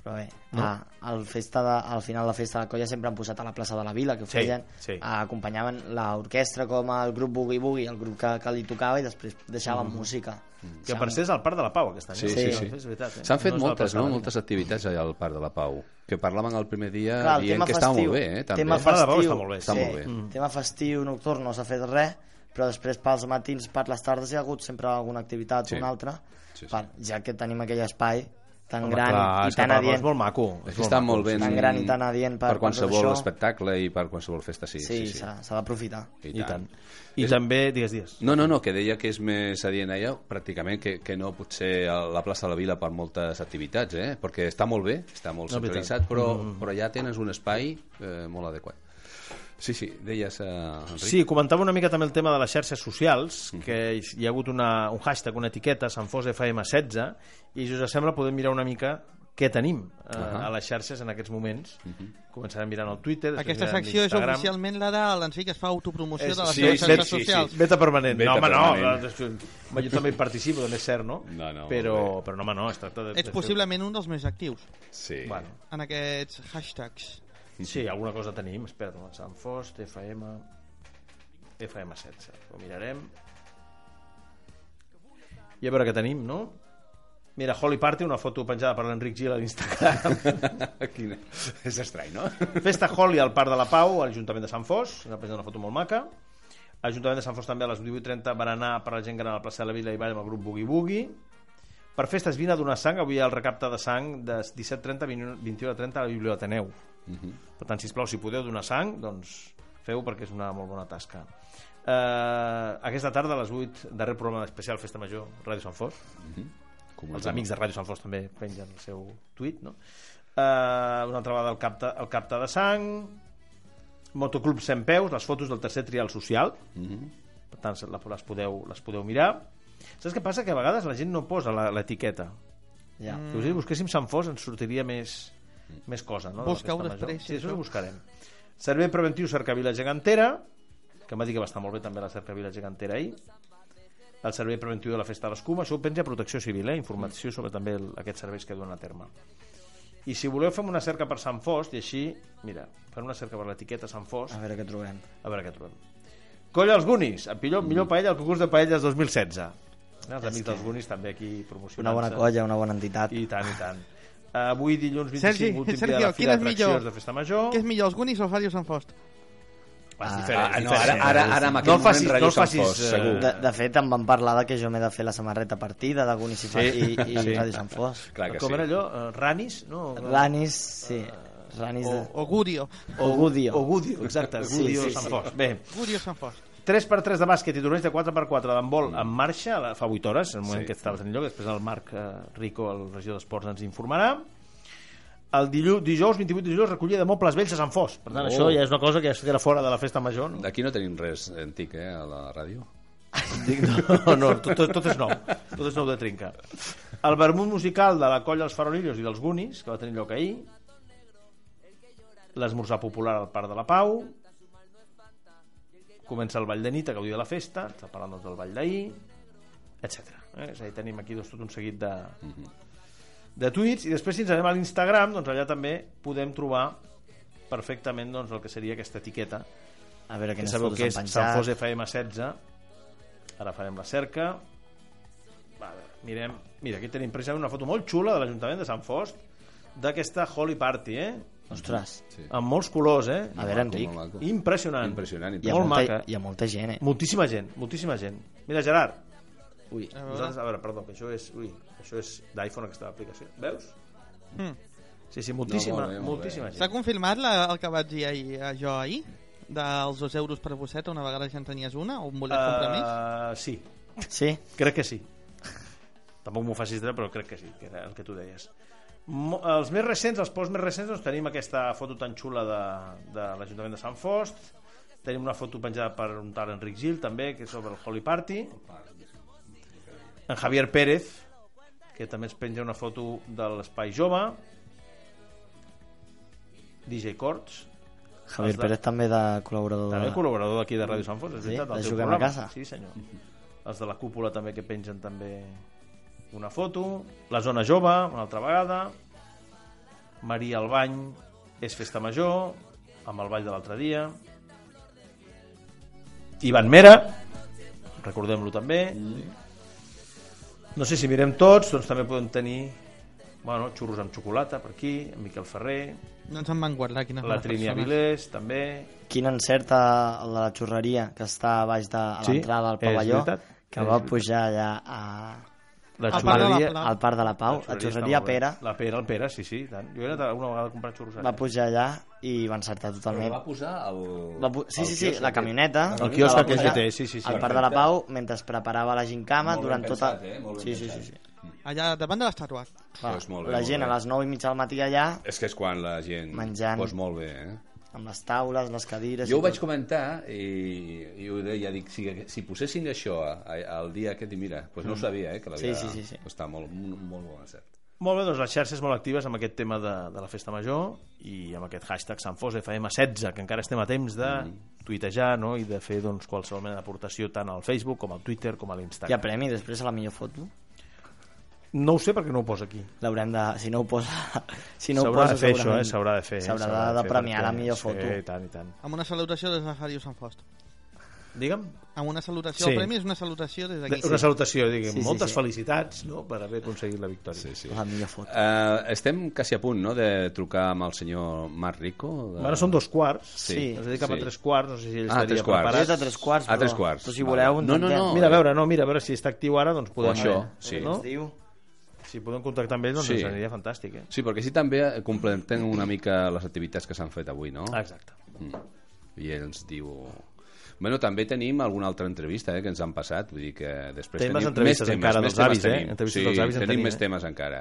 Speaker 3: Però bé, no? a, al, festa de, al final de la festa de la colla sempre han posat a la plaça de la Vila, que ho
Speaker 2: Sí,
Speaker 3: feien,
Speaker 2: sí.
Speaker 3: acompanyaven l'orquestra com el grup Boogie Boogie, el grup que, que li tocava, i després deixaven
Speaker 2: Mm.
Speaker 3: música.
Speaker 2: Que per ser és el Parc de la Pau aquest any.
Speaker 4: Sí,
Speaker 2: eh?
Speaker 4: sí,
Speaker 3: sí.
Speaker 2: És veritat, eh?
Speaker 4: S'han fet
Speaker 2: No és la
Speaker 4: moltes,
Speaker 2: plaça
Speaker 4: no?,
Speaker 2: de la
Speaker 4: moltes activitats allà al Parc de la Pau, que parlaven el primer dia
Speaker 3: Clar, el
Speaker 4: dient
Speaker 3: tema
Speaker 4: que
Speaker 3: festiu,
Speaker 4: estava molt bé, eh, també.
Speaker 3: tema
Speaker 2: El Parc de la Pau
Speaker 3: festiu,
Speaker 2: està molt bé,
Speaker 4: Està
Speaker 3: sí.
Speaker 4: molt bé.
Speaker 3: Mm. Tema festiu, nocturn, no s'ha fet res, però després pels matins, per les tardes, hi ha hagut sempre alguna activitat
Speaker 4: Sí.
Speaker 3: o una altra,
Speaker 4: Sí, sí.
Speaker 3: Per, ja que tenim aquell espai tan
Speaker 2: Home,
Speaker 3: gran
Speaker 2: clar, és
Speaker 3: i
Speaker 2: que
Speaker 3: tan
Speaker 2: Parc de la Pau
Speaker 3: adient.
Speaker 2: És molt maco.
Speaker 4: És que està molt ben...
Speaker 3: Tan gran i tan adient per-
Speaker 4: per qualsevol
Speaker 3: per tot això.
Speaker 4: espectacle i per qualsevol festa, sí.
Speaker 3: Sí,
Speaker 4: Sí,
Speaker 3: s'ha s'ha d'aprofitar.
Speaker 2: I tant. I també, digues, digues.
Speaker 4: No, no, no, que deia que és més adient allà, pràcticament, que, que no potser a la plaça de la Vila per moltes activitats, eh? Perquè està molt bé, està molt
Speaker 2: No, veritat. Mm,
Speaker 4: centralitzat, però, però ja tens un espai eh, molt adequat. Sí, sí, deies, eh, Enric?
Speaker 2: Sí, comentava una mica també el tema de les xarxes socials, que hi ha hagut una, un hashtag, una etiqueta, Sant Fos FM16, i si us sembla podem mirar una mica què tenim eh,
Speaker 4: Ahà.
Speaker 2: a les xarxes en aquests moments. Començarem mirant el Twitter, després
Speaker 10: Aquesta
Speaker 2: mirant
Speaker 10: secció és
Speaker 2: l'Instagram.
Speaker 10: oficialment la de l'Enric que es fa autopromoció
Speaker 2: És-
Speaker 10: de les
Speaker 4: sí,
Speaker 10: seves
Speaker 4: sí,
Speaker 10: xarxes
Speaker 4: sí, sí.
Speaker 10: socials.
Speaker 2: Beta permanent.
Speaker 4: Beta
Speaker 2: no, home,
Speaker 4: permanent.
Speaker 2: no. és que- home, Jo també hi participo, també és cert, no?
Speaker 4: No, no,
Speaker 2: però,
Speaker 4: bé.
Speaker 2: però no, home, no, es tracta de...
Speaker 10: Ets possiblement un dels més actius
Speaker 4: sí.
Speaker 2: Bueno,
Speaker 10: en aquests hashtags.
Speaker 2: sí, alguna cosa tenim. Espera't, home, Sant Fos, FM... FM16. Ho mirarem. I a veure què tenim, no? Mira, Holy Party, una foto penjada per l'Enric Gil a l'Instagram.
Speaker 4: Quina... És estrany, no?
Speaker 2: Festa Holly al Parc de la Pau, a l'Ajuntament de Sant Fos, s'ha penjat una foto molt maca. Ajuntament de Sant Fos també a les 18.30 berenar per la gent gran a la plaça de la Vila i ball amb el grup Boogie Boogie. Per festes vine a donar sang, avui hi ha el recapte de sang de 17.30 a 21.30 a la Biblioteneu. Per tant, sisplau, si podeu donar sang, doncs feu perquè és una molt bona tasca. Uh, aquesta tarda a les 8 darrer programa especial Festa Major Ràdio Sant Fos
Speaker 4: Com
Speaker 2: els amics de Ràdio Sant Fos també pengen Eh, el seu tuit, no? Uh, una altra vegada el capte, el capte de sang, Motoclub 100 peus, les fotos del tercer trial social, per tant se- la- les podeu, les podeu mirar. Saps què passa? Que a vegades la gent no posa la- l'etiqueta.
Speaker 3: Ja.
Speaker 2: Si us hi busquéssim Sant Fos ens sortiria més, més cosa. No? de la
Speaker 10: Busca-ho
Speaker 2: festa major.
Speaker 10: després,
Speaker 2: Sí,
Speaker 10: això.
Speaker 2: això ho buscarem. Servei preventiu Cercavila Gegantera, que m'ha dit que va estar molt bé també la Cercavila Gegantera ahir. El servei preventiu de la Festa de l'Escuma, això ho penja Protecció Civil, eh? informació sobre també el, aquests serveis que duen a terme. I si voleu fem una cerca per Sant Fost i així, mira, fem una cerca per l'etiqueta Sant Fost.
Speaker 3: A veure què trobem.
Speaker 2: A veure què trobem. Colla els Gunis, el millor, millor paella al concurs de paelles 2016. Eh, Els amics dels Gunis també aquí promocionant
Speaker 3: Una bona colla, una bona entitat.
Speaker 2: I tant, i tant. Avui dilluns 25,
Speaker 10: Sergi,
Speaker 2: últim dia de
Speaker 10: Sergio,
Speaker 2: la
Speaker 10: quin
Speaker 2: Fira
Speaker 10: és millor?
Speaker 2: d'Atraccions de Festa Major.
Speaker 10: Què és millor, els Goonies o els Ràdio Sant Fost?
Speaker 2: Ah,
Speaker 4: ah, no, ara- ara- ara en aquell moment Ràdio Sant Fost,
Speaker 2: eh,
Speaker 4: segur.
Speaker 3: De, de fet, em van parlar de que jo m'he de fer la samarreta partida de Gunis i, sí. i, i
Speaker 2: Sí.
Speaker 3: Ràdio Sant Fos.
Speaker 4: Clar que
Speaker 2: Com
Speaker 4: sí.
Speaker 2: era allò? Eh, Ranis? No?
Speaker 3: Ranis, sí. Ranis de...
Speaker 10: O Gudio.
Speaker 3: O Gudio.
Speaker 2: O Gudio, exacte.
Speaker 3: Sí,
Speaker 2: Gudio
Speaker 3: sí,
Speaker 2: Sant
Speaker 3: sí.
Speaker 2: Fost. Bé,
Speaker 10: Gudio Sant Fost.
Speaker 2: 3x3 de bàsquet i torneig de 4x4 d'handbol en marxa a la- fa 8 hores, en el moment Mm. sí. que estaves en lloc. Després el Marc eh, Rico, el regió d'Esports, ens informarà. El dilluns, dijous, 28 de juliol, recollida de mobles vells a Sant Fos. Per tant,
Speaker 4: Oh.
Speaker 2: oh. això ja és una cosa que ja es queda fora de la festa major. No?
Speaker 4: Aquí no tenim res antic, eh, a la ràdio.
Speaker 2: Dic, no, no, tot, tot, tot és nou. Tot és nou de trinca. El vermut musical de la colla dels Farolillos i dels Gunis, que va tenir lloc ahir. L'esmorzar popular al Parc de la Pau. Comença el Ball de Nit a gaudir de la festa. Està parlant doncs, del Ball d'ahir, etc. Eh? És a dir, tenim aquí doncs, tot un seguit de, de tuits. I després, si ens anem a l'Instagram, doncs allà també podem trobar perfectament doncs, el que seria aquesta etiqueta
Speaker 3: A veure
Speaker 2: que
Speaker 3: quines
Speaker 2: sabeu
Speaker 3: fotos han
Speaker 2: que és Sant Fos
Speaker 3: penjat.
Speaker 2: FM 16 ara farem la cerca Va, a veure, mirem mira, aquí tenim precisament una foto molt xula de l'Ajuntament de Sant Fost d'aquesta Holy Party eh?
Speaker 3: Ostres,
Speaker 2: amb molts colors eh?
Speaker 3: a veure, Enric,
Speaker 4: Molt maco.
Speaker 2: impressionant,
Speaker 4: Impressionant,
Speaker 3: hi ha,
Speaker 2: molt
Speaker 3: molta,
Speaker 2: maca
Speaker 3: hi ha molta gent, eh?
Speaker 2: moltíssima gent, moltíssima gent mira Gerard,
Speaker 3: Ui.
Speaker 10: A veure.
Speaker 2: nosaltres, a veure, perdó, que això és, ui, això és d'iPhone aquesta aplicació, veus?
Speaker 10: Mm.
Speaker 2: Sí, sí, moltíssima,
Speaker 4: No, molt bé, molt
Speaker 2: moltíssima
Speaker 10: S'ha
Speaker 2: gent.
Speaker 10: confirmat la, el que vaig dir ahir, eh, jo ahir? Dels 2 euros per bosseta, una vegada ja en tenies una, o en volies comprar més?
Speaker 2: Uh, sí,
Speaker 3: Sí?
Speaker 2: Crec que sí. Tampoc m'ho facis dir, però crec que sí, que era el que tu deies. Mo els més recents, els posts més recents, doncs tenim aquesta foto tan xula de, de l'Ajuntament de Sant Fost, tenim una foto penjada per un tal Enric Gil, també, que és sobre el Holy Party, en Javier Pérez, que també ens penja una foto de l'Espai Jove, DJ Corts,
Speaker 3: Javier
Speaker 2: Els de-
Speaker 3: Pérez també de col·laborador
Speaker 2: també
Speaker 3: de...
Speaker 2: col·laborador d'aquí de Ràdio Sant Fons, és
Speaker 3: Sí,
Speaker 2: veritat,
Speaker 3: de
Speaker 2: del teu
Speaker 3: Juguem a
Speaker 2: programa.
Speaker 3: Casa.
Speaker 2: Sí, senyor. Els de la cúpula també que pengen també una foto. La zona jove, una altra vegada. Maria al bany, és festa major, amb el ball de l'altre dia. Ivan Mera, recordem-lo també. No sé si mirem tots, doncs també podem tenir bueno, xurros amb xocolata per aquí, en Miquel Ferrer,
Speaker 10: No ens en van guardar, quines
Speaker 2: la
Speaker 10: males
Speaker 2: Trínia
Speaker 10: persones.
Speaker 2: Vilés, també,
Speaker 3: Quin encerta el de la xurreria que està a baix de a
Speaker 2: Sí,
Speaker 3: l'entrada
Speaker 2: és
Speaker 3: del pavelló,
Speaker 2: veritat,
Speaker 3: que
Speaker 2: és
Speaker 3: va
Speaker 2: veritat.
Speaker 3: pujar allà a,
Speaker 2: la
Speaker 10: Al Parc de la
Speaker 2: xurreria,
Speaker 10: Pla-
Speaker 3: al Parc de la Pau,
Speaker 2: La
Speaker 3: a
Speaker 2: xurreria
Speaker 3: xurreria
Speaker 2: està molt bé.
Speaker 3: Pera,
Speaker 2: La Pera, el Pera, sí, sí. i Tant. Jo he anat una vegada a comprar xurros. allà.
Speaker 3: va pujar allà i va encertar totalment.
Speaker 4: Va posar el...
Speaker 3: Va pu- sí,
Speaker 4: el
Speaker 3: sí, sí,
Speaker 4: quiosc
Speaker 3: la
Speaker 4: aquest.
Speaker 3: camioneta.
Speaker 2: El quiosc
Speaker 3: la va
Speaker 2: aquest
Speaker 3: posar
Speaker 2: que té, sí, sí, sí.
Speaker 3: Al Parc de la Pau, mentre es preparava la gincama
Speaker 4: Molt ben
Speaker 3: durant tota...
Speaker 4: pensat, eh? Molt ben
Speaker 3: sí, sí, sí,
Speaker 4: pensat.
Speaker 3: sí.
Speaker 10: Allà davant de l'estàtua.
Speaker 3: Va,
Speaker 4: Doncs molt bé,
Speaker 3: la
Speaker 4: molt
Speaker 3: gent
Speaker 4: bé.
Speaker 3: a les 9 i mitja del matí allà,
Speaker 4: És que és quan la gent...
Speaker 3: Menjant.
Speaker 4: Doncs molt bé, eh?
Speaker 3: amb les taules, les cadires...
Speaker 4: Jo ho
Speaker 3: i
Speaker 4: vaig
Speaker 3: tot.
Speaker 4: comentar i, i ho deia, dic, si, si posessin això a- a- al dia aquest, dic, mira, doncs no ho sabia, eh, que l'havia...
Speaker 3: Mm. Sí, sí, sí, sí.
Speaker 4: Està molt, molt, molt bon encert.
Speaker 2: Molt bé, doncs les xarxes molt actives amb aquest tema de, de la festa major i amb aquest hashtag SantFosFM16, que encara estem a temps de
Speaker 3: Mm.
Speaker 2: tuitejar no? i de fer doncs, qualsevol mena d'aportació tant al Facebook com al Twitter com a
Speaker 3: Hi ha
Speaker 2: l'Instagram.
Speaker 3: premi després a la millor foto?
Speaker 2: No ho sé perquè no ho posa aquí.
Speaker 3: L'haurem de... Si no ho posa... Si no ho
Speaker 2: s'haurà
Speaker 3: posa,
Speaker 2: de fer això,
Speaker 3: segurament
Speaker 2: eh? s'haurà de fer. eh?
Speaker 3: S'haurà de, de
Speaker 2: fer
Speaker 3: premiar la
Speaker 2: perquè-
Speaker 3: millor foto.
Speaker 2: Sí, i tant, i tant.
Speaker 10: Amb una salutació des de Ràdio Sant Fost.
Speaker 2: Digue'm,
Speaker 10: Amb una salutació.
Speaker 2: Sí.
Speaker 10: El premi és una salutació des d'aquí.
Speaker 2: una salutació, diguem,
Speaker 3: Sí, sí,
Speaker 2: moltes
Speaker 3: sí.
Speaker 2: felicitats no? per haver aconseguit la victòria.
Speaker 4: Sí, sí.
Speaker 3: La millor foto.
Speaker 4: Uh, estem quasi a punt, no?, de trucar amb el senyor Marc Rico. De...
Speaker 2: Ara són dos quarts,
Speaker 3: Sí.
Speaker 2: ens dediquem
Speaker 4: Sí.
Speaker 2: a tres quarts, no sé si ell
Speaker 4: Ah,
Speaker 2: estaria
Speaker 4: tres quarts.
Speaker 2: preparat.
Speaker 3: És de tres quarts,
Speaker 4: A
Speaker 3: però,
Speaker 4: tres quarts,
Speaker 3: però si
Speaker 4: vale.
Speaker 3: voleu...
Speaker 4: No, no,
Speaker 3: intentem.
Speaker 4: no.
Speaker 2: Mira, a veure, no, mira, a veure si està actiu ara, doncs
Speaker 4: O
Speaker 2: podem...
Speaker 4: això, sí.
Speaker 2: No?
Speaker 3: Es diu...
Speaker 2: Si podem contactar amb ell, doncs
Speaker 4: Sí.
Speaker 2: ens aniria fantàstic, eh?
Speaker 4: Sí, perquè així també completem una mica les activitats que s'han fet avui, no?
Speaker 2: Ah, exacte.
Speaker 4: I ell ens diu... Bueno, també tenim alguna altra entrevista eh, que ens han passat, vull dir que després
Speaker 2: Tenim les
Speaker 4: tenim
Speaker 2: entrevistes
Speaker 4: més temes,
Speaker 2: encara
Speaker 4: més
Speaker 2: dels
Speaker 4: temes
Speaker 2: avis, eh?
Speaker 4: tenim.
Speaker 2: Entrevistes
Speaker 4: sí,
Speaker 2: dels avis en
Speaker 4: tenim,
Speaker 2: tenim,
Speaker 4: més
Speaker 2: eh?
Speaker 4: temes encara.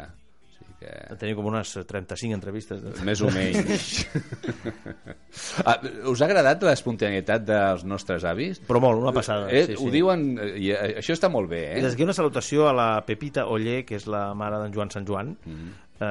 Speaker 4: Sí, que...
Speaker 2: Teniu com unes 35 entrevistes. doncs. De...
Speaker 4: Més o menys. ah, us ha agradat l'espontaneïtat dels nostres avis?
Speaker 2: Però molt, una passada.
Speaker 4: Eh,
Speaker 2: sí,
Speaker 4: Ho
Speaker 2: sí.
Speaker 4: diuen... eh, I eh, això està molt bé,
Speaker 2: I
Speaker 4: eh?
Speaker 2: des d'aquí una salutació a la Pepita Oller, que és la mare d'en Joan Sant Joan, eh,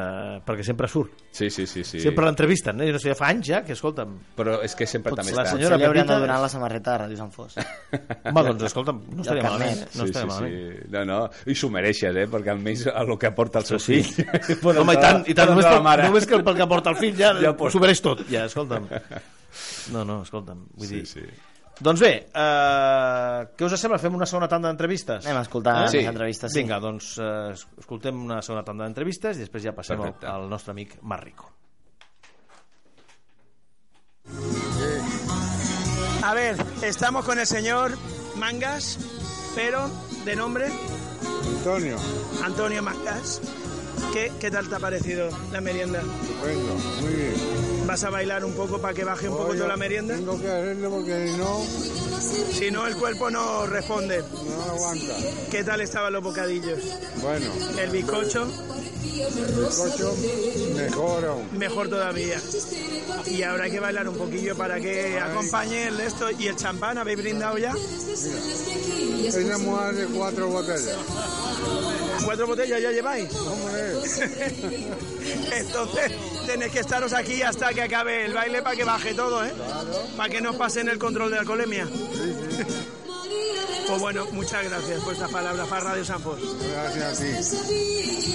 Speaker 2: perquè sempre surt.
Speaker 4: Sí, sí, Mhm. sí. sí.
Speaker 2: Sempre l'entrevisten, eh? no sé, ja fa anys ja, que escolta'm.
Speaker 4: Però és que sempre també
Speaker 2: la
Speaker 4: està.
Speaker 2: senyora Ah,
Speaker 3: Potser li hauríem
Speaker 2: Pepita
Speaker 3: de donar la samarreta de Ràdio Sant Fos.
Speaker 2: Home, doncs escolta'm, no estaria
Speaker 3: carnet.
Speaker 2: malament. eh? No
Speaker 4: sí,
Speaker 2: estaria
Speaker 4: sí,
Speaker 2: malament.
Speaker 4: sí. No, no, i s'ho mereixes, eh? Perquè almenys el que aporta el seu fill...
Speaker 2: Però Home, i tant, i tant, només,
Speaker 4: la
Speaker 2: pel,
Speaker 4: mare.
Speaker 2: només que pel que porta el fill ja,
Speaker 4: Ja
Speaker 2: ja
Speaker 4: pot.
Speaker 2: s'ho mereix tot. Ja, escolta'm. No, no, escolta'm. Vull
Speaker 4: Sí,
Speaker 2: dir...
Speaker 4: sí.
Speaker 2: Doncs bé, eh, què us sembla? Fem una segona tanda d'entrevistes? Eh?
Speaker 3: Anem a escoltar
Speaker 4: Sí.
Speaker 3: les entrevistes. Sí.
Speaker 2: Ah, Vinga, doncs eh, escoltem una segona tanda d'entrevistes i després ja passem al,
Speaker 4: Perfecte.
Speaker 2: al nostre amic Marrico.
Speaker 5: A ver, estamos con el señor Mangas, pero de nombre
Speaker 11: Antonio,
Speaker 5: Antonio Mangas. ¿Qué, qué tal te ha parecido la merienda?
Speaker 11: estupendo, muy bien.
Speaker 5: ¿Vas a bailar un poco para que baje un poco
Speaker 11: Oye,
Speaker 5: toda la merienda?
Speaker 11: Tengo que hacerlo porque si no,
Speaker 5: Si no, el cuerpo no responde.
Speaker 11: no aguanta.
Speaker 5: ¿Qué tal estaban los bocadillos?
Speaker 11: Bueno,
Speaker 5: El bizcocho,
Speaker 11: bizcocho, mejor aún.
Speaker 5: mejor todavía. Y habrá que bailar un poquillo para que acompañe el esto. ¿Y el champán habéis brindado ya?
Speaker 11: Esa mujer de cuatro botellas.
Speaker 5: ¿Cuatro botellas ya lleváis?
Speaker 11: ¿Cómo es?
Speaker 5: Entonces tenéis que estaros aquí hasta que acabe el baile para que baje todo, ¿eh? Para que no os pasen el control de alcoholemia. Pues bueno, muchas gracias por estas palabras para Radio San Fos.
Speaker 11: Gracias a ti.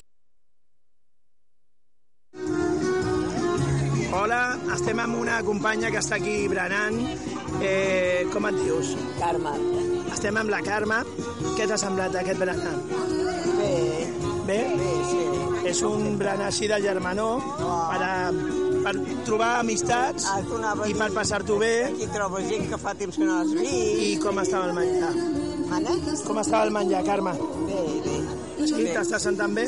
Speaker 5: Hola, estem amb una companya que està aquí berenant. Eh, com et dius?
Speaker 9: Carme,
Speaker 5: Estem amb la Carme. Què t'ha semblat aquest berenar?
Speaker 9: bé,
Speaker 5: Bé?
Speaker 9: sí.
Speaker 5: És un berenar així de germanor per, a, per trobar amistats
Speaker 9: Ah, tu anaves
Speaker 5: i per
Speaker 9: a dir-
Speaker 5: passar-t'ho bé.
Speaker 9: Aquí trobo gent que fa temps que no has vist.
Speaker 5: I com estava el menjar?
Speaker 9: Mana?
Speaker 5: Com estava el menjar, Carme?
Speaker 9: Bé, bé.
Speaker 5: Sí, t'estàs sentant bé?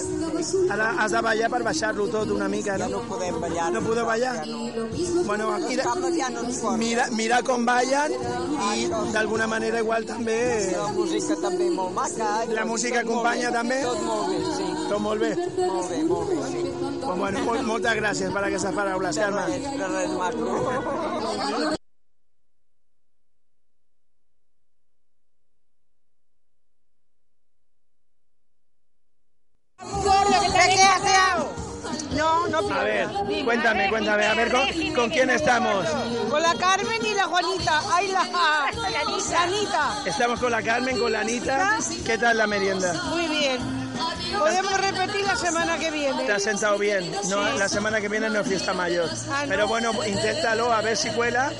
Speaker 5: Ara has de ballar per baixar-lo tot una mica,
Speaker 9: Ja no
Speaker 5: no?
Speaker 9: podem ballar.
Speaker 5: No podeu ballar?
Speaker 9: Ja no.
Speaker 5: Bueno,
Speaker 9: Los
Speaker 5: mira,
Speaker 9: cables ja no ens porten. Ah,
Speaker 5: mira, mira com ballen i d'alguna manera igual també...
Speaker 9: La música també molt maca.
Speaker 5: La
Speaker 9: Tot-
Speaker 5: música
Speaker 9: tot molt
Speaker 5: acompanya
Speaker 9: bé,
Speaker 5: també?
Speaker 9: Tot molt bé, sí.
Speaker 5: Tot molt bé.
Speaker 9: Molt bé, molt bé, sí.
Speaker 5: Pues bueno, mol- moltes gràcies per aquestes paraules,
Speaker 9: De
Speaker 5: Carme.
Speaker 9: res, de res, maco.
Speaker 6: No, no,
Speaker 5: A ver, cuéntame, cuéntame, a ver, ¿con, con quién estamos?
Speaker 6: Con la Carmen y la Juanita. Ay, la, la Anita.
Speaker 5: Estamos con la Carmen, con la Anita. ¿Qué tal la merienda?
Speaker 6: Muy bien. Podemos repetir la semana que viene.
Speaker 5: ¿Te has sentado bien? No, la semana que viene no es fiesta mayor.
Speaker 6: Ah, ¿no?
Speaker 5: Pero bueno, inténtalo, a ver si cuela,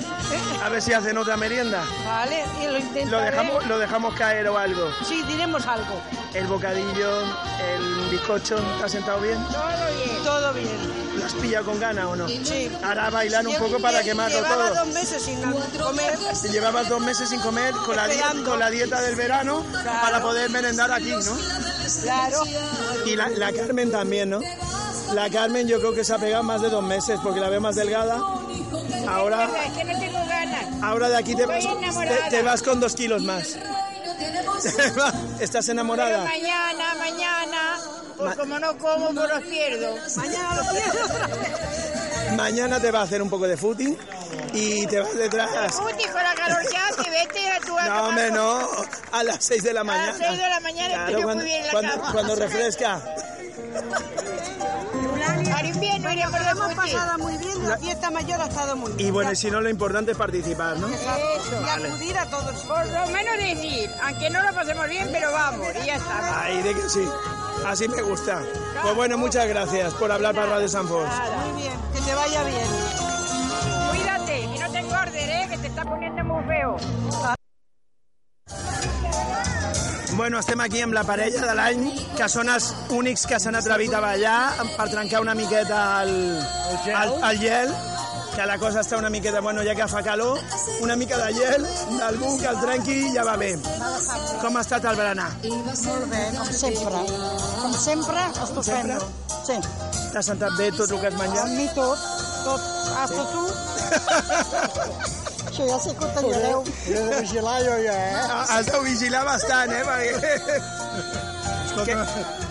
Speaker 5: a ver si hacen otra merienda.
Speaker 6: Vale, y lo intentaré.
Speaker 5: Lo dejamos, lo dejamos caer o algo.
Speaker 6: Sí, diremos algo.
Speaker 5: El bocadillo, el bizcocho, ¿te has sentado bien?
Speaker 6: Todo bien. Todo bien.
Speaker 5: ¿Lo has pillado con ganas o no?
Speaker 6: Sí.
Speaker 5: Ahora bailar un poco para quemarlo
Speaker 6: Llevaba
Speaker 5: todo.
Speaker 6: dos meses sin comer.
Speaker 5: Si llevabas dos meses sin comer con la, di-
Speaker 6: Esperando.
Speaker 5: con la dieta del verano
Speaker 6: Claro.
Speaker 5: para poder merendar aquí, ¿no?
Speaker 6: Claro.
Speaker 5: Y la, la Carmen también, ¿no? La Carmen yo creo que se ha pegado más de dos meses porque la veo más delgada. Ahora,
Speaker 6: que no tengo ganas.
Speaker 5: ahora de aquí te vas,
Speaker 6: Estoy enamorada.
Speaker 5: te- te vas con dos kilos más. ¿Estás enamorada?
Speaker 6: mañana, mañana, pues como no como, pues los pierdo. Mañana los pierdo.
Speaker 5: Mañana te va a hacer un poco de footing y te vas detrás.
Speaker 6: Uti, con la calor que hace, vete a tu
Speaker 5: No, hombre, no. A las 6 de la mañana.
Speaker 6: las seis de la mañana estoy
Speaker 5: Claro,
Speaker 6: yo muy
Speaker 5: cuando,
Speaker 6: bien en la
Speaker 5: cuando-
Speaker 6: cama.
Speaker 5: cuando refresca.
Speaker 6: Al invierno iría por el
Speaker 9: Hemos pasado muy bien, la fiesta mayor ha estado muy bien.
Speaker 5: Y bueno, y si no, lo importante es participar, ¿no?
Speaker 9: Eso, y acudir a todos.
Speaker 6: Por lo menos decir, aunque no lo pasemos bien, pero vamos, y ya está.
Speaker 5: Ahí de que sí. Así me gusta. Pues bueno, muchas gracias por hablar para Radio San Fos.
Speaker 9: Muy bien, que te vaya bien.
Speaker 6: Cuídate, y no te engordes, ¿eh? que te está poniendo muy feo.
Speaker 5: Bueno, estem aquí amb la parella de l'any, que són els únics que s'han atrevit a ballar per trencar una miqueta el, el, el gel, que la cosa està una miqueta, bueno, ja que fa calor, una mica de gel, d'algú que el trenqui i ja va bé. Com ha estat el berenar?
Speaker 9: Molt bé, com sempre. Com sempre, estupendo. Sí.
Speaker 5: T'ha sentat bé tot el que has
Speaker 9: A
Speaker 5: menjat?
Speaker 9: mi tot, tot. Hasta tu. Això ja sé que ho tallareu.
Speaker 11: He de vigilar jo ja, eh?
Speaker 5: Has de vigilar bastant, eh? Perquè...
Speaker 11: Escolta,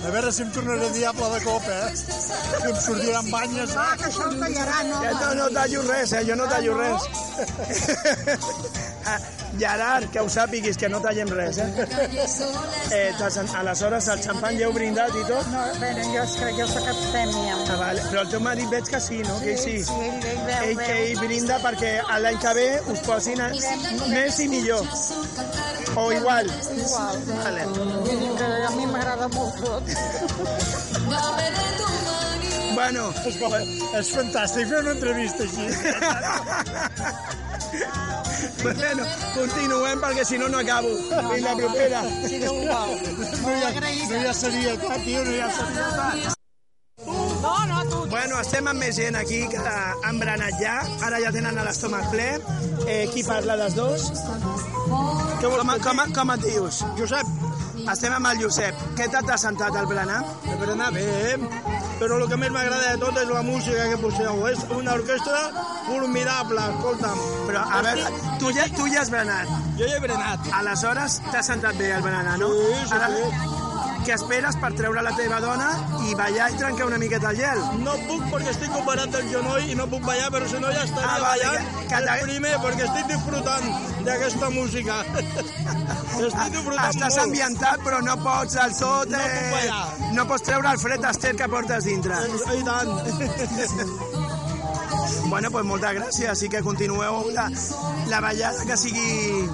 Speaker 11: A veure si em tornaré diable de cop, eh? Que em sortiran banyes.
Speaker 9: Va, que això el tallarà, no?
Speaker 5: Que no, no tallo res, eh? Jo no tallo res. Ah, Gerard, que ho sàpiguis, que no tallem res, eh? eh t'has- aleshores, el xampany ja heu brindat i tot?
Speaker 9: No, bueno, jo és que jo sóc abstèmia.
Speaker 5: Ah, vale. Però el teu marit veig que sí, no? que sí.
Speaker 9: sí, ell- ell veu,
Speaker 5: ell, que
Speaker 9: veu.
Speaker 5: ell brinda perquè a l'any que ve us posin a... més i millor. O igual.
Speaker 9: Igual.
Speaker 5: Vale.
Speaker 9: Vull dir que a mi m'agrada molt tot.
Speaker 5: Bueno,
Speaker 11: Escolta, és fantàstic fer una entrevista així.
Speaker 5: bueno, continuem perquè si no no acabo. Fins la propera.
Speaker 9: Si Déu vol.
Speaker 11: No hi ha, no hi ha serietat, tio, no hi ha serietat.
Speaker 5: No, no, tu. Bueno, estem amb més gent aquí que han berenat ja. Ara ja tenen l'estómac ple. Eh, qui parla dels dos? Que com, com, com et dius? Josep. Estem amb el Josep. Què t'ha tassentat al berenar?
Speaker 12: El berenar bé, eh? però el que més m'agrada de tot és la música que poseu. És una orquestra formidable, escolta'm.
Speaker 5: Però, a veure, tu ja, tu ja has berenat.
Speaker 12: Jo ja he berenat.
Speaker 5: Aleshores, t'ha sentat bé el berenar, no?
Speaker 12: Sí, sí,
Speaker 5: Ara,
Speaker 12: sí.
Speaker 5: què esperes per treure la teva dona i ballar i trencar una miqueta el gel?
Speaker 12: No puc perquè estic operat del genoll i no puc ballar, però si no ja estaria
Speaker 5: Ah,
Speaker 12: ah,
Speaker 5: vale,
Speaker 12: ballant
Speaker 5: que- que
Speaker 12: que,
Speaker 5: t'ha-
Speaker 12: el primer, perquè estic disfrutant d'aquesta música. estic disfrutant
Speaker 5: Estàs
Speaker 12: molt.
Speaker 5: ambientat, però no pots del tot...
Speaker 12: No puc ballar. Eh,
Speaker 5: no pots treure el fred estel que portes dintre.
Speaker 12: I tant.
Speaker 5: bueno, pues moltes gràcies i que continueu la, la ballada, que sigui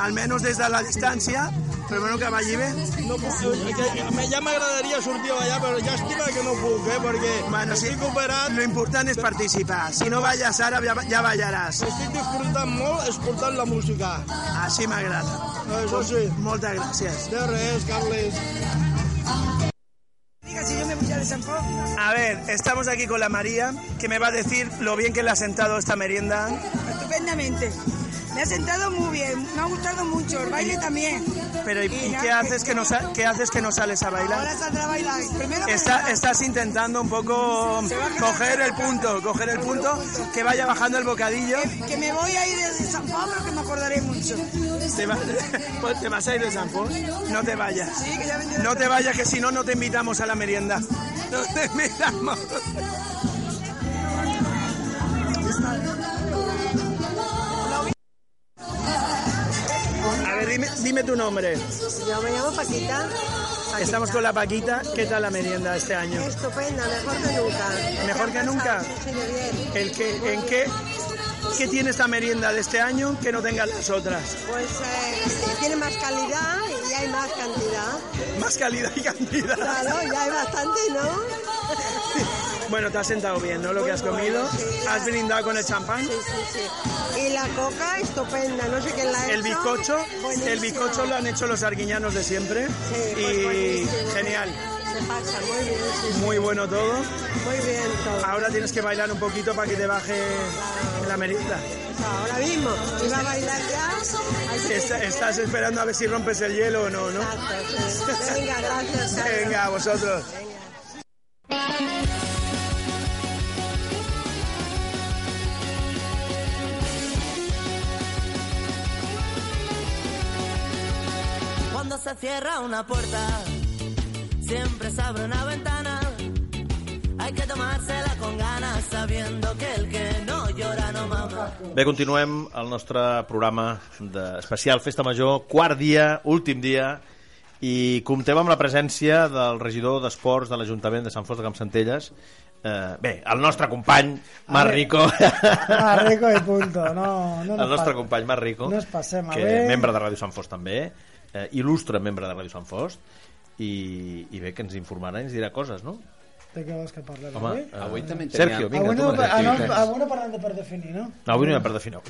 Speaker 5: almenys des de la distància, però bueno, que balli bé.
Speaker 12: No puc, eh, que, ja m'agradaria sortir a ballar, però llàstima que no puc, eh, perquè
Speaker 5: Bueno, sí, lo important és participar. Si no balles ara, ja, ja ballaràs.
Speaker 12: estic disfrutant molt escoltant la música.
Speaker 5: Així m'agrada.
Speaker 12: Això sí.
Speaker 5: Moltes gràcies.
Speaker 12: De res, Carles.
Speaker 5: A ver, estamos aquí con la María, que me va a decir lo bien que le ha sentado esta merienda.
Speaker 13: Estupendamente. Me ha sentado muy bien, me ha gustado mucho, el baile también.
Speaker 5: Pero ¿y,
Speaker 13: Y
Speaker 5: y
Speaker 13: ya
Speaker 5: qué
Speaker 13: que-
Speaker 5: haces que no sa- qué haces que no sales a bailar?
Speaker 13: Ahora saldrá a bailar. Primero
Speaker 5: Está- estás intentando un poco coger el punto, coger el punto, que vaya bajando el bocadillo.
Speaker 13: que me voy a ir desde San Pablo, que me acordaré mucho.
Speaker 5: Te, va- pues te vas a ir de San Pol, no te vayas.
Speaker 13: Sí, que ya vendré.
Speaker 5: No te vayas, que si no, no te invitamos a la merienda. No te invitamos. A ver, dime, dime tu nombre.
Speaker 13: Yo me llamo Paquita.
Speaker 5: Estamos con la Paquita. ¿Qué tal la merienda este año?
Speaker 13: Estupenda, mejor que nunca.
Speaker 5: ¿Mejor que nunca? ¿El que, ¿En qué, qué tiene esta merienda de este año que no tengan las otras?
Speaker 13: Pues tiene más calidad y hay más cantidad.
Speaker 5: Más calidad y cantidad.
Speaker 13: ya hay bastante, ¿no?
Speaker 5: Bueno, te has sentado bien, ¿no? Lo que has comido. Has brindado con el champán.
Speaker 13: Y la coca estupenda, no sé quién la ha
Speaker 5: El bizcocho, el bizcocho lo han hecho los arguiñanos de siempre. Y genial.
Speaker 13: Se pasa, muy bien,
Speaker 5: Muy bueno todo.
Speaker 13: Muy bien todo.
Speaker 5: Ahora tienes que bailar un poquito para que te baje la merienda.
Speaker 13: Pues Ahora mismo, iba a bailar ya. así que-
Speaker 5: Está- estás esperando a ver si rompes el hielo o no, ¿no?
Speaker 13: Venga, gracias. Carlos.
Speaker 5: Venga, a vosotros.
Speaker 14: Cuando se cierra una puerta, siempre se abre una ventana. Hay que tomársela con ganas, sabiendo que el que no llora no mama.
Speaker 2: Bé, continuem el nostre programa de especial Festa Major, quart dia, últim dia, i comptem amb la presència del regidor d'Esports de l'Ajuntament de Sant Fost de Campsentelles, eh, bé, el nostre company, Marc Rico,
Speaker 15: Más rico y punto. No, no nos
Speaker 2: el nostre
Speaker 15: pas-
Speaker 2: company Marc Rico,
Speaker 15: No ens passem, a
Speaker 2: que
Speaker 15: veure.
Speaker 2: membre de Ràdio Sant Fost també, eh, il·lustre membre de Ràdio Sant Fost, i, i bé, que ens informarà i ens dirà coses, no?
Speaker 15: De què vols que parlem
Speaker 2: Home,
Speaker 15: avui?
Speaker 2: eh, avui també teníem- Sergio, vinga,
Speaker 15: avui
Speaker 2: tu
Speaker 15: no,
Speaker 2: amb les
Speaker 15: ah, no,
Speaker 2: activitats.
Speaker 15: avui no parlem de per definir, no?
Speaker 2: No, avui no hi ha per definir.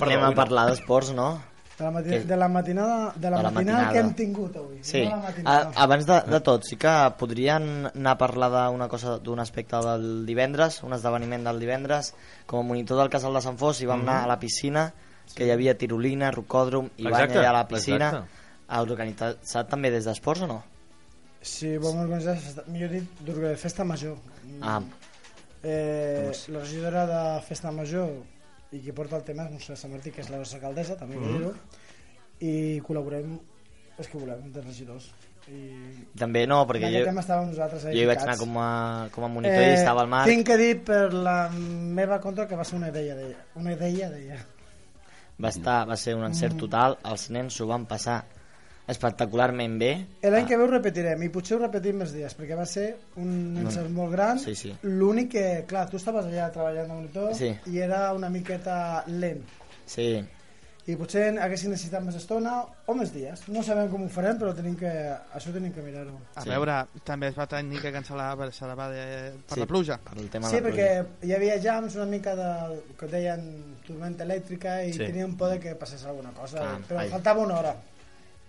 Speaker 3: Anem a parlar d'esports, no?
Speaker 15: De la, mati...
Speaker 3: Què?
Speaker 15: de la matinada, de la,
Speaker 3: De la
Speaker 15: matinada,
Speaker 3: matinada.
Speaker 15: que hem tingut avui.
Speaker 3: Sí. Ah,
Speaker 15: No la
Speaker 3: A,
Speaker 15: matinada.
Speaker 3: abans de, de tot, sí que podrien anar a parlar d'una cosa, d'un aspecte del divendres, un esdeveniment del divendres. Com a monitor del casal de Sant Fos hi vam
Speaker 2: Mhm.
Speaker 10: Mm.
Speaker 3: anar a la piscina, que hi havia tirolina, rocòdrom, i banya
Speaker 2: Exacte,
Speaker 3: allà a la piscina.
Speaker 2: exacte.
Speaker 3: Has organitzat també des d'esports o no?
Speaker 15: Sí, vam organitzar, festa- millor dit, d'organitzar festa major.
Speaker 3: Ah,
Speaker 15: Eh, la regidora de Festa Major i qui porta el tema és Montserrat Sant Martí, que és la nostra alcaldessa, també mm.
Speaker 2: Mhm.
Speaker 15: dir-ho, i col·laborem els que volem, de regidors. I
Speaker 3: També no, perquè
Speaker 15: en
Speaker 3: jo,
Speaker 15: aquest tema estàvem nosaltres
Speaker 3: jo
Speaker 15: ahí
Speaker 3: hi vaig anar
Speaker 15: picats.
Speaker 3: com a, com a monitor i estava al mar.
Speaker 15: Eh, Tinc que dir per la meva contra que va ser una idea d'ella. Una idea d'ella.
Speaker 3: Va, estar, va ser un
Speaker 15: Mm.
Speaker 3: encert total, els nens s'ho van passar espectacularment bé.
Speaker 15: L'any que ve ho repetirem i potser ho repetim més dies perquè va ser un
Speaker 3: No.
Speaker 15: encert molt gran
Speaker 3: Sí, sí.
Speaker 15: l'únic que, clar, tu estaves allà treballant de monitor
Speaker 3: Sí.
Speaker 15: i era una miqueta lent
Speaker 3: Sí,
Speaker 15: i potser haguessin necessitat més estona o més dies, no sabem com ho farem però tenim que, això tenim que mirar-ho
Speaker 10: A veure, també es va tenir que cancel·lar per, se la va de, per
Speaker 3: Sí,
Speaker 10: la pluja.
Speaker 3: per el tema
Speaker 15: Sí, perquè hi havia jams una mica de, que deien tormenta elèctrica i
Speaker 2: Sí.
Speaker 15: sí. tenien por de que passés alguna cosa,
Speaker 2: Clar,
Speaker 15: però
Speaker 2: ai.
Speaker 15: faltava una hora.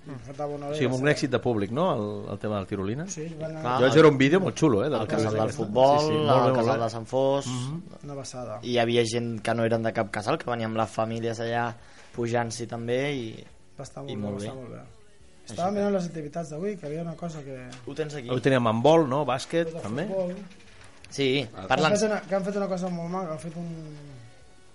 Speaker 10: Mm.
Speaker 15: Faltava una hora.
Speaker 2: Sí, amb un èxit de públic, no?, el, el tema del tirolina.
Speaker 15: Sí, van anar-
Speaker 2: jo vaig veure un vídeo molt xulo, eh?
Speaker 3: el casal del
Speaker 2: tirolina.
Speaker 3: futbol,
Speaker 2: Sí, sí, molt bé,
Speaker 3: el
Speaker 2: molt
Speaker 3: casal
Speaker 2: bé. Mhm.
Speaker 3: de Sant Fos... Mm
Speaker 15: Una basada.
Speaker 3: I hi havia gent que no eren de cap casal, que venien amb les famílies allà pujant-s'hi també i...
Speaker 15: Va estar molt,
Speaker 3: I
Speaker 15: bé,
Speaker 3: molt
Speaker 15: va
Speaker 3: bé.
Speaker 15: estar molt bé. Estava mirant les activitats d'avui, que hi havia una cosa que...
Speaker 3: Ho tens aquí.
Speaker 2: Ho teníem amb vol, no?, bàsquet,
Speaker 15: de
Speaker 2: també.
Speaker 15: futbol.
Speaker 3: Sí,
Speaker 2: Ah.
Speaker 15: Que han,
Speaker 3: parlant...
Speaker 15: fet una, que han fet una cosa molt maca, han fet un...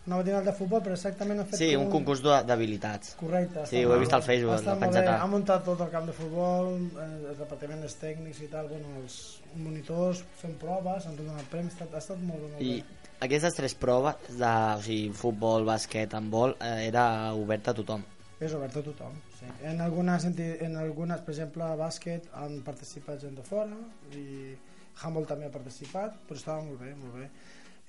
Speaker 15: una matinal de futbol, però exactament han fet
Speaker 3: Sí,
Speaker 15: com
Speaker 3: un concurs d'ha- d'habilitats.
Speaker 15: Correcte.
Speaker 3: Sí, ho he vist al Facebook,
Speaker 15: Està
Speaker 3: l'ha
Speaker 15: molt
Speaker 3: penjat
Speaker 15: bé.
Speaker 3: a-
Speaker 15: Ha muntat tot el camp de futbol, eh, els departaments tècnics i tal, bueno, els monitors fent proves, han donat premis, ha estat, ha estat molt bé, molt
Speaker 3: I
Speaker 15: bé.
Speaker 3: aquestes tres proves, de, o sigui, futbol, bàsquet, handbol, eh, era obert a tothom.
Speaker 15: És obert a tothom, sí. En algunes, enti- en algunes, per exemple, bàsquet han participat gent de fora i Humble també ha participat, però estava molt bé, molt bé.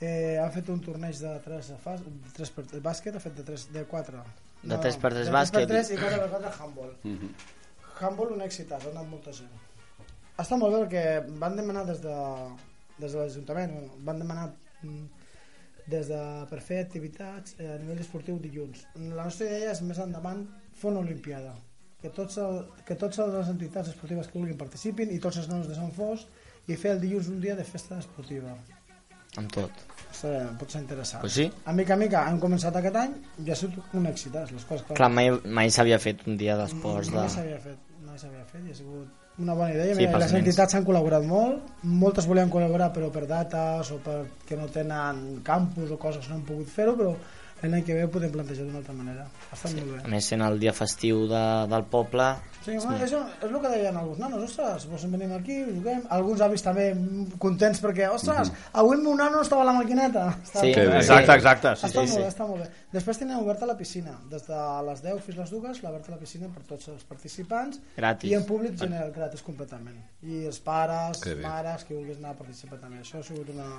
Speaker 15: Eh, han fet un torneig de 3 fas, 3 per, el bàsquet ha fet de 3 de 4.
Speaker 3: De tres per tres
Speaker 15: de
Speaker 3: bàsquet. Mhm.
Speaker 15: De 3 i 4 per 4 handball. Humble un èxit, ha donat molta gent. Està molt bé perquè van demanar des de, des de l'Ajuntament, bueno, van demanar mm, des de, per fer activitats eh, a nivell esportiu dilluns. La nostra idea és més endavant fer una Olimpiada, que, tots el, que tots les entitats esportives que vulguin participin i tots els noms de Sant Fos i fer el dilluns un dia de festa esportiva.
Speaker 3: Amb tot.
Speaker 15: Serà, pot ser interessant.
Speaker 3: Pues sí.
Speaker 15: A mica a mica hem començat aquest any i ha sigut un èxit, eh, les coses que...
Speaker 3: Clar, mai, mai s'havia fet un dia d'esports de...
Speaker 15: No Mm, s'havia fet, no s'havia fet i ha sigut una bona idea.
Speaker 3: Sí,
Speaker 15: Mira,
Speaker 3: pels
Speaker 15: les
Speaker 3: nens.
Speaker 15: entitats han col·laborat molt, moltes volien col·laborar però per dates o perquè no tenen campus o coses no han pogut fer-ho, però l'any que ve ho podem plantejar d'una altra manera. Ha estat molt
Speaker 3: A
Speaker 15: bé.
Speaker 3: més, sent el dia festiu de, del poble...
Speaker 15: Sí, home, això és el que deien alguns nanos, ostres, doncs venim aquí, juguem. Alguns avis també mm, contents perquè, ostres, avui el meu nano estava a la maquineta.
Speaker 3: Mhm. Sí,
Speaker 15: Estava molt bé.
Speaker 2: exacte, exacte, sí,
Speaker 15: està
Speaker 2: sí,
Speaker 15: molt bé,
Speaker 2: sí.
Speaker 15: està molt bé. Després tenen oberta la piscina, des de les 10 fins les 2, l'oberta la piscina per tots els participants.
Speaker 3: Gratis.
Speaker 15: I en públic general, gratis completament. I els pares,
Speaker 3: Que bé.
Speaker 15: mares, qui vulguis anar a participar també. Això ha sigut una...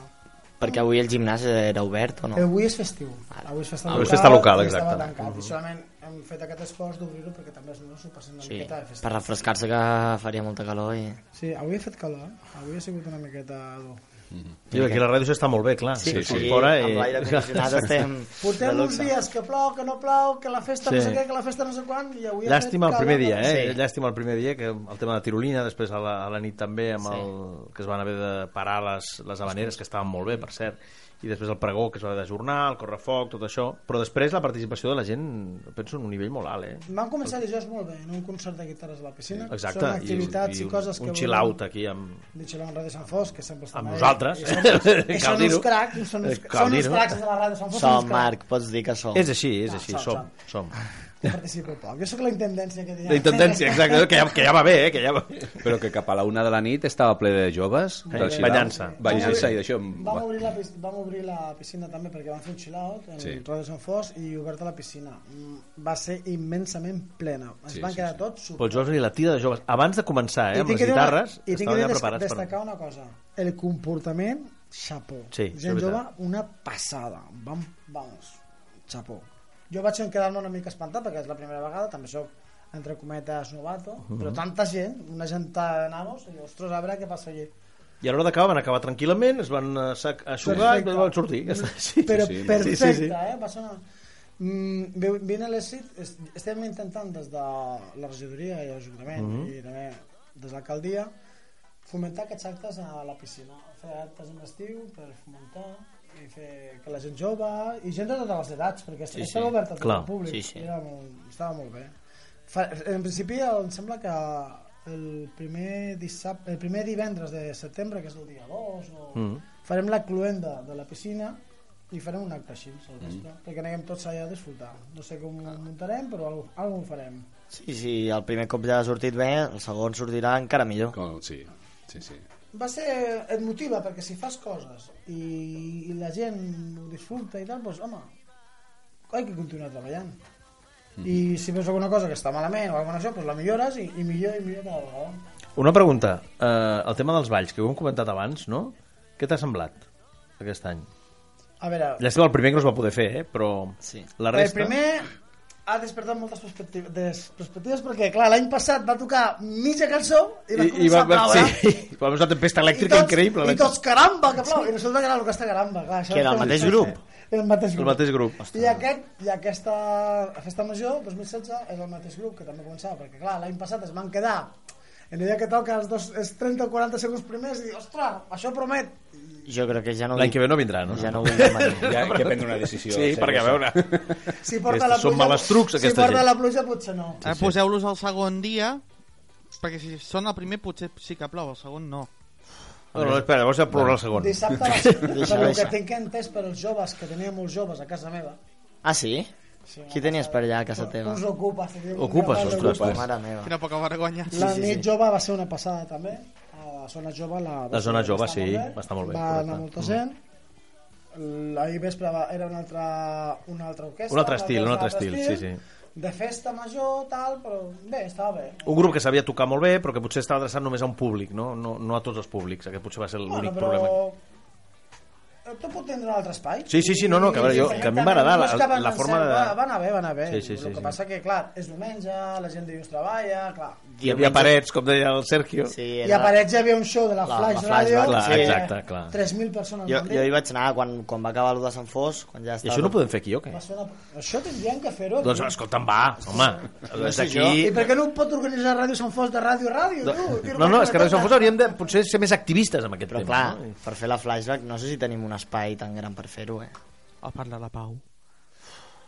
Speaker 3: Perquè avui el gimnàs era obert o no?
Speaker 15: Eh, Avui és festiu. Avui és festa
Speaker 3: Avui
Speaker 15: local.
Speaker 3: és festa local,
Speaker 15: i Estava
Speaker 3: exacte.
Speaker 15: tancat.
Speaker 3: Mhm.
Speaker 15: I solament hem fet aquest esforç d'obrir-ho perquè també els nens ho passin una
Speaker 3: Sí,
Speaker 15: miqueta de festa.
Speaker 3: per refrescar-se que faria molta calor i...
Speaker 15: Sí, avui ha fet calor, eh? avui ha sigut una miqueta dur.
Speaker 2: Jo, aquí la ràdio s'està molt bé, clar.
Speaker 3: Sí, sí,
Speaker 2: s'incorpora
Speaker 3: amb
Speaker 2: i-
Speaker 3: l'aire condicionat estem-
Speaker 15: Portem
Speaker 2: De
Speaker 15: uns
Speaker 2: luxe.
Speaker 15: dies que plou, que no plou, que la festa sí. no
Speaker 2: Sí.
Speaker 15: sé què, que la festa no sé quan, i avui ha
Speaker 2: Llàstima el
Speaker 15: fet
Speaker 2: primer
Speaker 15: calor,
Speaker 2: dia, eh?
Speaker 15: no sé.
Speaker 2: Llàstima el primer dia, que el tema de tirolina, després a la, a la nit també, amb
Speaker 15: Sí.
Speaker 2: el, que es van haver de parar les, les habaneres, que estaven molt bé, per cert, i després el pregó, que es va haver d'ajornar, el correfoc, tot això, però després la participació de la gent, penso, en un nivell molt alt, eh?
Speaker 15: Van començar dijous molt bé, en un concert de guitarres a la piscina.
Speaker 2: Exacte,
Speaker 15: Són activitats i,
Speaker 2: un-
Speaker 15: coses que...
Speaker 2: un chill-out aquí amb...
Speaker 15: De chill out de Sant Fos, que sempre estan
Speaker 2: Amb
Speaker 15: ahí.
Speaker 2: nosaltres.
Speaker 15: I són, i
Speaker 2: Cal
Speaker 15: són uns
Speaker 2: dir-ho. Eh,
Speaker 15: cracs, són uns,
Speaker 2: Cal
Speaker 15: són uns
Speaker 2: dir-ho.
Speaker 15: cracs de la ràdio de Sant Fos. són uns
Speaker 3: Som,
Speaker 15: cracs.
Speaker 3: Marc, pots dir que som.
Speaker 2: És així, és així,
Speaker 15: som,
Speaker 2: som, som.
Speaker 15: Participo poc. Jo sóc la intendència que diria.
Speaker 2: La intendència, exacte, que ja, que ja va bé, eh? Que ja va...
Speaker 4: Però que cap a la una de la nit estava ple de joves.
Speaker 2: Sí,
Speaker 4: dels
Speaker 2: ballant-se.
Speaker 4: xilals, Ballant-se i d'això...
Speaker 15: Vam obrir, la, pis- vam obrir la piscina també perquè vam fer un chill-out en
Speaker 4: Sí.
Speaker 15: sí. Rodes en Fos i oberta la piscina. Mm, Va ser immensament plena. Ens
Speaker 2: Sí,
Speaker 15: van
Speaker 2: sí,
Speaker 15: quedar tots super...
Speaker 2: Pels joves i la tira de joves, abans de començar, eh? Amb
Speaker 15: tinc
Speaker 2: les
Speaker 15: que dir una-
Speaker 2: guitarres,
Speaker 15: i tinc que
Speaker 2: estaven
Speaker 15: dir
Speaker 2: ja
Speaker 15: des-
Speaker 2: preparats per...
Speaker 15: destacar una cosa. El comportament, xapó.
Speaker 2: Sí, és
Speaker 15: Gent jove,
Speaker 2: veritat.
Speaker 15: una passada. Vam, vamos, xapó. Jo vaig quedar-me una mica espantat perquè és la primera vegada, també sóc entre cometes novato,
Speaker 2: Mhm.
Speaker 15: però tanta gent, una gent de nanos, i ostres, a veure què passa aquí.
Speaker 2: I a l'hora d'acabar van acabar tranquil·lament, es van eh, sac- aixugar i
Speaker 15: Perfecte. Mm.
Speaker 2: van sortir. Ja està. Sí,
Speaker 15: però
Speaker 2: sí, sí.
Speaker 15: perfecte,
Speaker 2: Sí, sí, sí.
Speaker 15: eh? Va sonar... Mm, ve- vine a l'ESIT, es- estem intentant des de la regidoria i l'Ajuntament mm
Speaker 2: Mhm.
Speaker 15: -hmm. i també des de l'alcaldia fomentar aquests actes a la piscina, fer actes en estiu per fomentar i fer que la gent jove i gent de totes les edats, perquè
Speaker 3: Sí,
Speaker 15: sí, estava
Speaker 3: sí.
Speaker 15: sí. obert a tot
Speaker 3: Clar.
Speaker 15: el públic,
Speaker 3: Sí, sí.
Speaker 15: Era molt, estava molt bé. Fa, en principi em sembla que el primer, dissabte, el primer divendres de setembre, que és el dia 2 o
Speaker 2: Mm.
Speaker 15: farem la cluenda de la piscina i farem un acte així, al vespre, mm. perquè anem tots allà a disfrutar. No sé com ho muntarem, però algo, algo ho farem.
Speaker 3: Sí, sí, el primer cop ja ha sortit bé, el segon sortirà encara millor.
Speaker 4: Com, sí, sí, sí.
Speaker 15: Va ser... et motiva, perquè si fas coses i, i la gent ho disfruta i tal, doncs, home, hay que continuar treballant. Mm.
Speaker 2: Mhm.
Speaker 15: I si veus alguna cosa que està malament o alguna cosa, doncs la millores i, i millor i millor cada vegada.
Speaker 2: Una pregunta. eh, el tema dels balls, que ho hem comentat abans, no? Què t'ha semblat aquest any?
Speaker 15: A veure,
Speaker 2: Llàstima el primer que no es va poder fer, eh? però sí. la resta...
Speaker 15: El primer ha despertat moltes perspectives, des perspectives perquè, clar, l'any passat va tocar mitja cançó i va
Speaker 2: I, i
Speaker 15: començar
Speaker 2: va,
Speaker 15: a
Speaker 2: va,
Speaker 15: ploure.
Speaker 2: sí, va haver una tempesta elèctrica increïble.
Speaker 15: I tots, caramba, que plou! I resulta que era el que està caramba. Clar, això
Speaker 3: Que era el
Speaker 15: després-
Speaker 3: mateix grup?
Speaker 15: Era el mateix
Speaker 2: El
Speaker 15: grup.
Speaker 2: mateix grup.
Speaker 15: I, aquest, i aquesta festa major, 2016, és el mateix grup que també començava, perquè clar, l'any passat es van quedar en allà que toca els, dos, els 30 o 40 segons primers i dir, ostres, això promet.
Speaker 3: Jo crec que ja no...
Speaker 2: L'any que ve no vindrà, no?
Speaker 3: Ja no vull demanar.
Speaker 4: Ja que prendre una decisió
Speaker 2: Sí,
Speaker 4: seriosa.
Speaker 2: perquè a veure...
Speaker 15: Si porta
Speaker 2: Aquestes
Speaker 15: la
Speaker 2: són
Speaker 15: pluja,
Speaker 2: malastrucs,
Speaker 15: si
Speaker 2: aquesta
Speaker 15: porta
Speaker 2: gent.
Speaker 15: la pluja, potser no.
Speaker 10: Sí, sí. Poseu-los al pues segon dia, perquè si són el primer potser sí que plou, el segon no.
Speaker 2: No, no, espera, llavors ja plourà el segon.
Speaker 15: Dissabte va ser, per el que tinc entès per als joves, que tenia molts joves a casa meva,
Speaker 3: Ah, sí? Qui tenies per allà a casa teva?
Speaker 15: us ocupes. tenia un
Speaker 3: Ocupes,
Speaker 15: grapat
Speaker 3: ostres,
Speaker 15: d'ocupes.
Speaker 3: mare meva.
Speaker 10: Quina poca vergonya.
Speaker 15: La nit jove va ser una passada també, a la zona jove. La,
Speaker 2: La zona jove,
Speaker 15: està
Speaker 2: sí,
Speaker 15: molt
Speaker 2: va estar molt bé,
Speaker 15: Va
Speaker 2: correcte. Mm.
Speaker 15: anar molta gent. L'ahir vespre va, era una altra, una altra orquestra.
Speaker 2: Un altre estil, un altre estil, sí, sí.
Speaker 15: De festa major, tal, però bé, estava bé.
Speaker 2: Un grup que sabia tocar molt bé, però que potser estava adreçat només a un públic, no, no, no a tots els públics. Aquest potser va ser l'únic problema.
Speaker 15: eh, Tu pot tindre un altre espai?
Speaker 2: Sí, sí, sí, no, no, que a veure, jo- que a mi m'agrada la- la forma de-
Speaker 15: Va, va anar bé, va anar bé.
Speaker 2: Sí, sí, sí,
Speaker 15: el que
Speaker 2: sí.
Speaker 15: passa que, clar, és diumenge, la gent dilluns treballa, clar.
Speaker 2: Hi havia parets, com deia el Sergio.
Speaker 3: Sí,
Speaker 15: I a parets hi havia un show de la,
Speaker 3: La-
Speaker 15: Flash,
Speaker 3: la Flash
Speaker 15: Radio.
Speaker 3: Radio,
Speaker 15: que
Speaker 3: sí.
Speaker 15: hi havia
Speaker 3: Exacte, clar.
Speaker 15: 3.000 persones.
Speaker 3: Jo,
Speaker 15: van dir.
Speaker 3: jo hi vaig anar quan, quan va acabar allò de Sant Fos, quan ja
Speaker 2: I
Speaker 3: estava...
Speaker 2: això no ho podem fer aquí, o què?
Speaker 15: Va ser una... Això tindríem que fer-ho.
Speaker 2: Doncs escolta'm, va, home,
Speaker 3: No
Speaker 2: des
Speaker 3: sé
Speaker 2: d'aquí...
Speaker 3: jo.
Speaker 15: I per què no ho pot organitzar Ràdio Sant Fos de Ràdio Ràdio, tu? Tiro
Speaker 2: No, no, és que
Speaker 15: per
Speaker 2: Ràdio Sant Fos hauríem de potser ser més activistes amb aquest
Speaker 3: Però
Speaker 2: tema.
Speaker 3: clar,
Speaker 2: no?
Speaker 3: per fer la flashback no sé si tenim un espai tan gran per fer-ho, eh?
Speaker 10: El Parc de la Pau.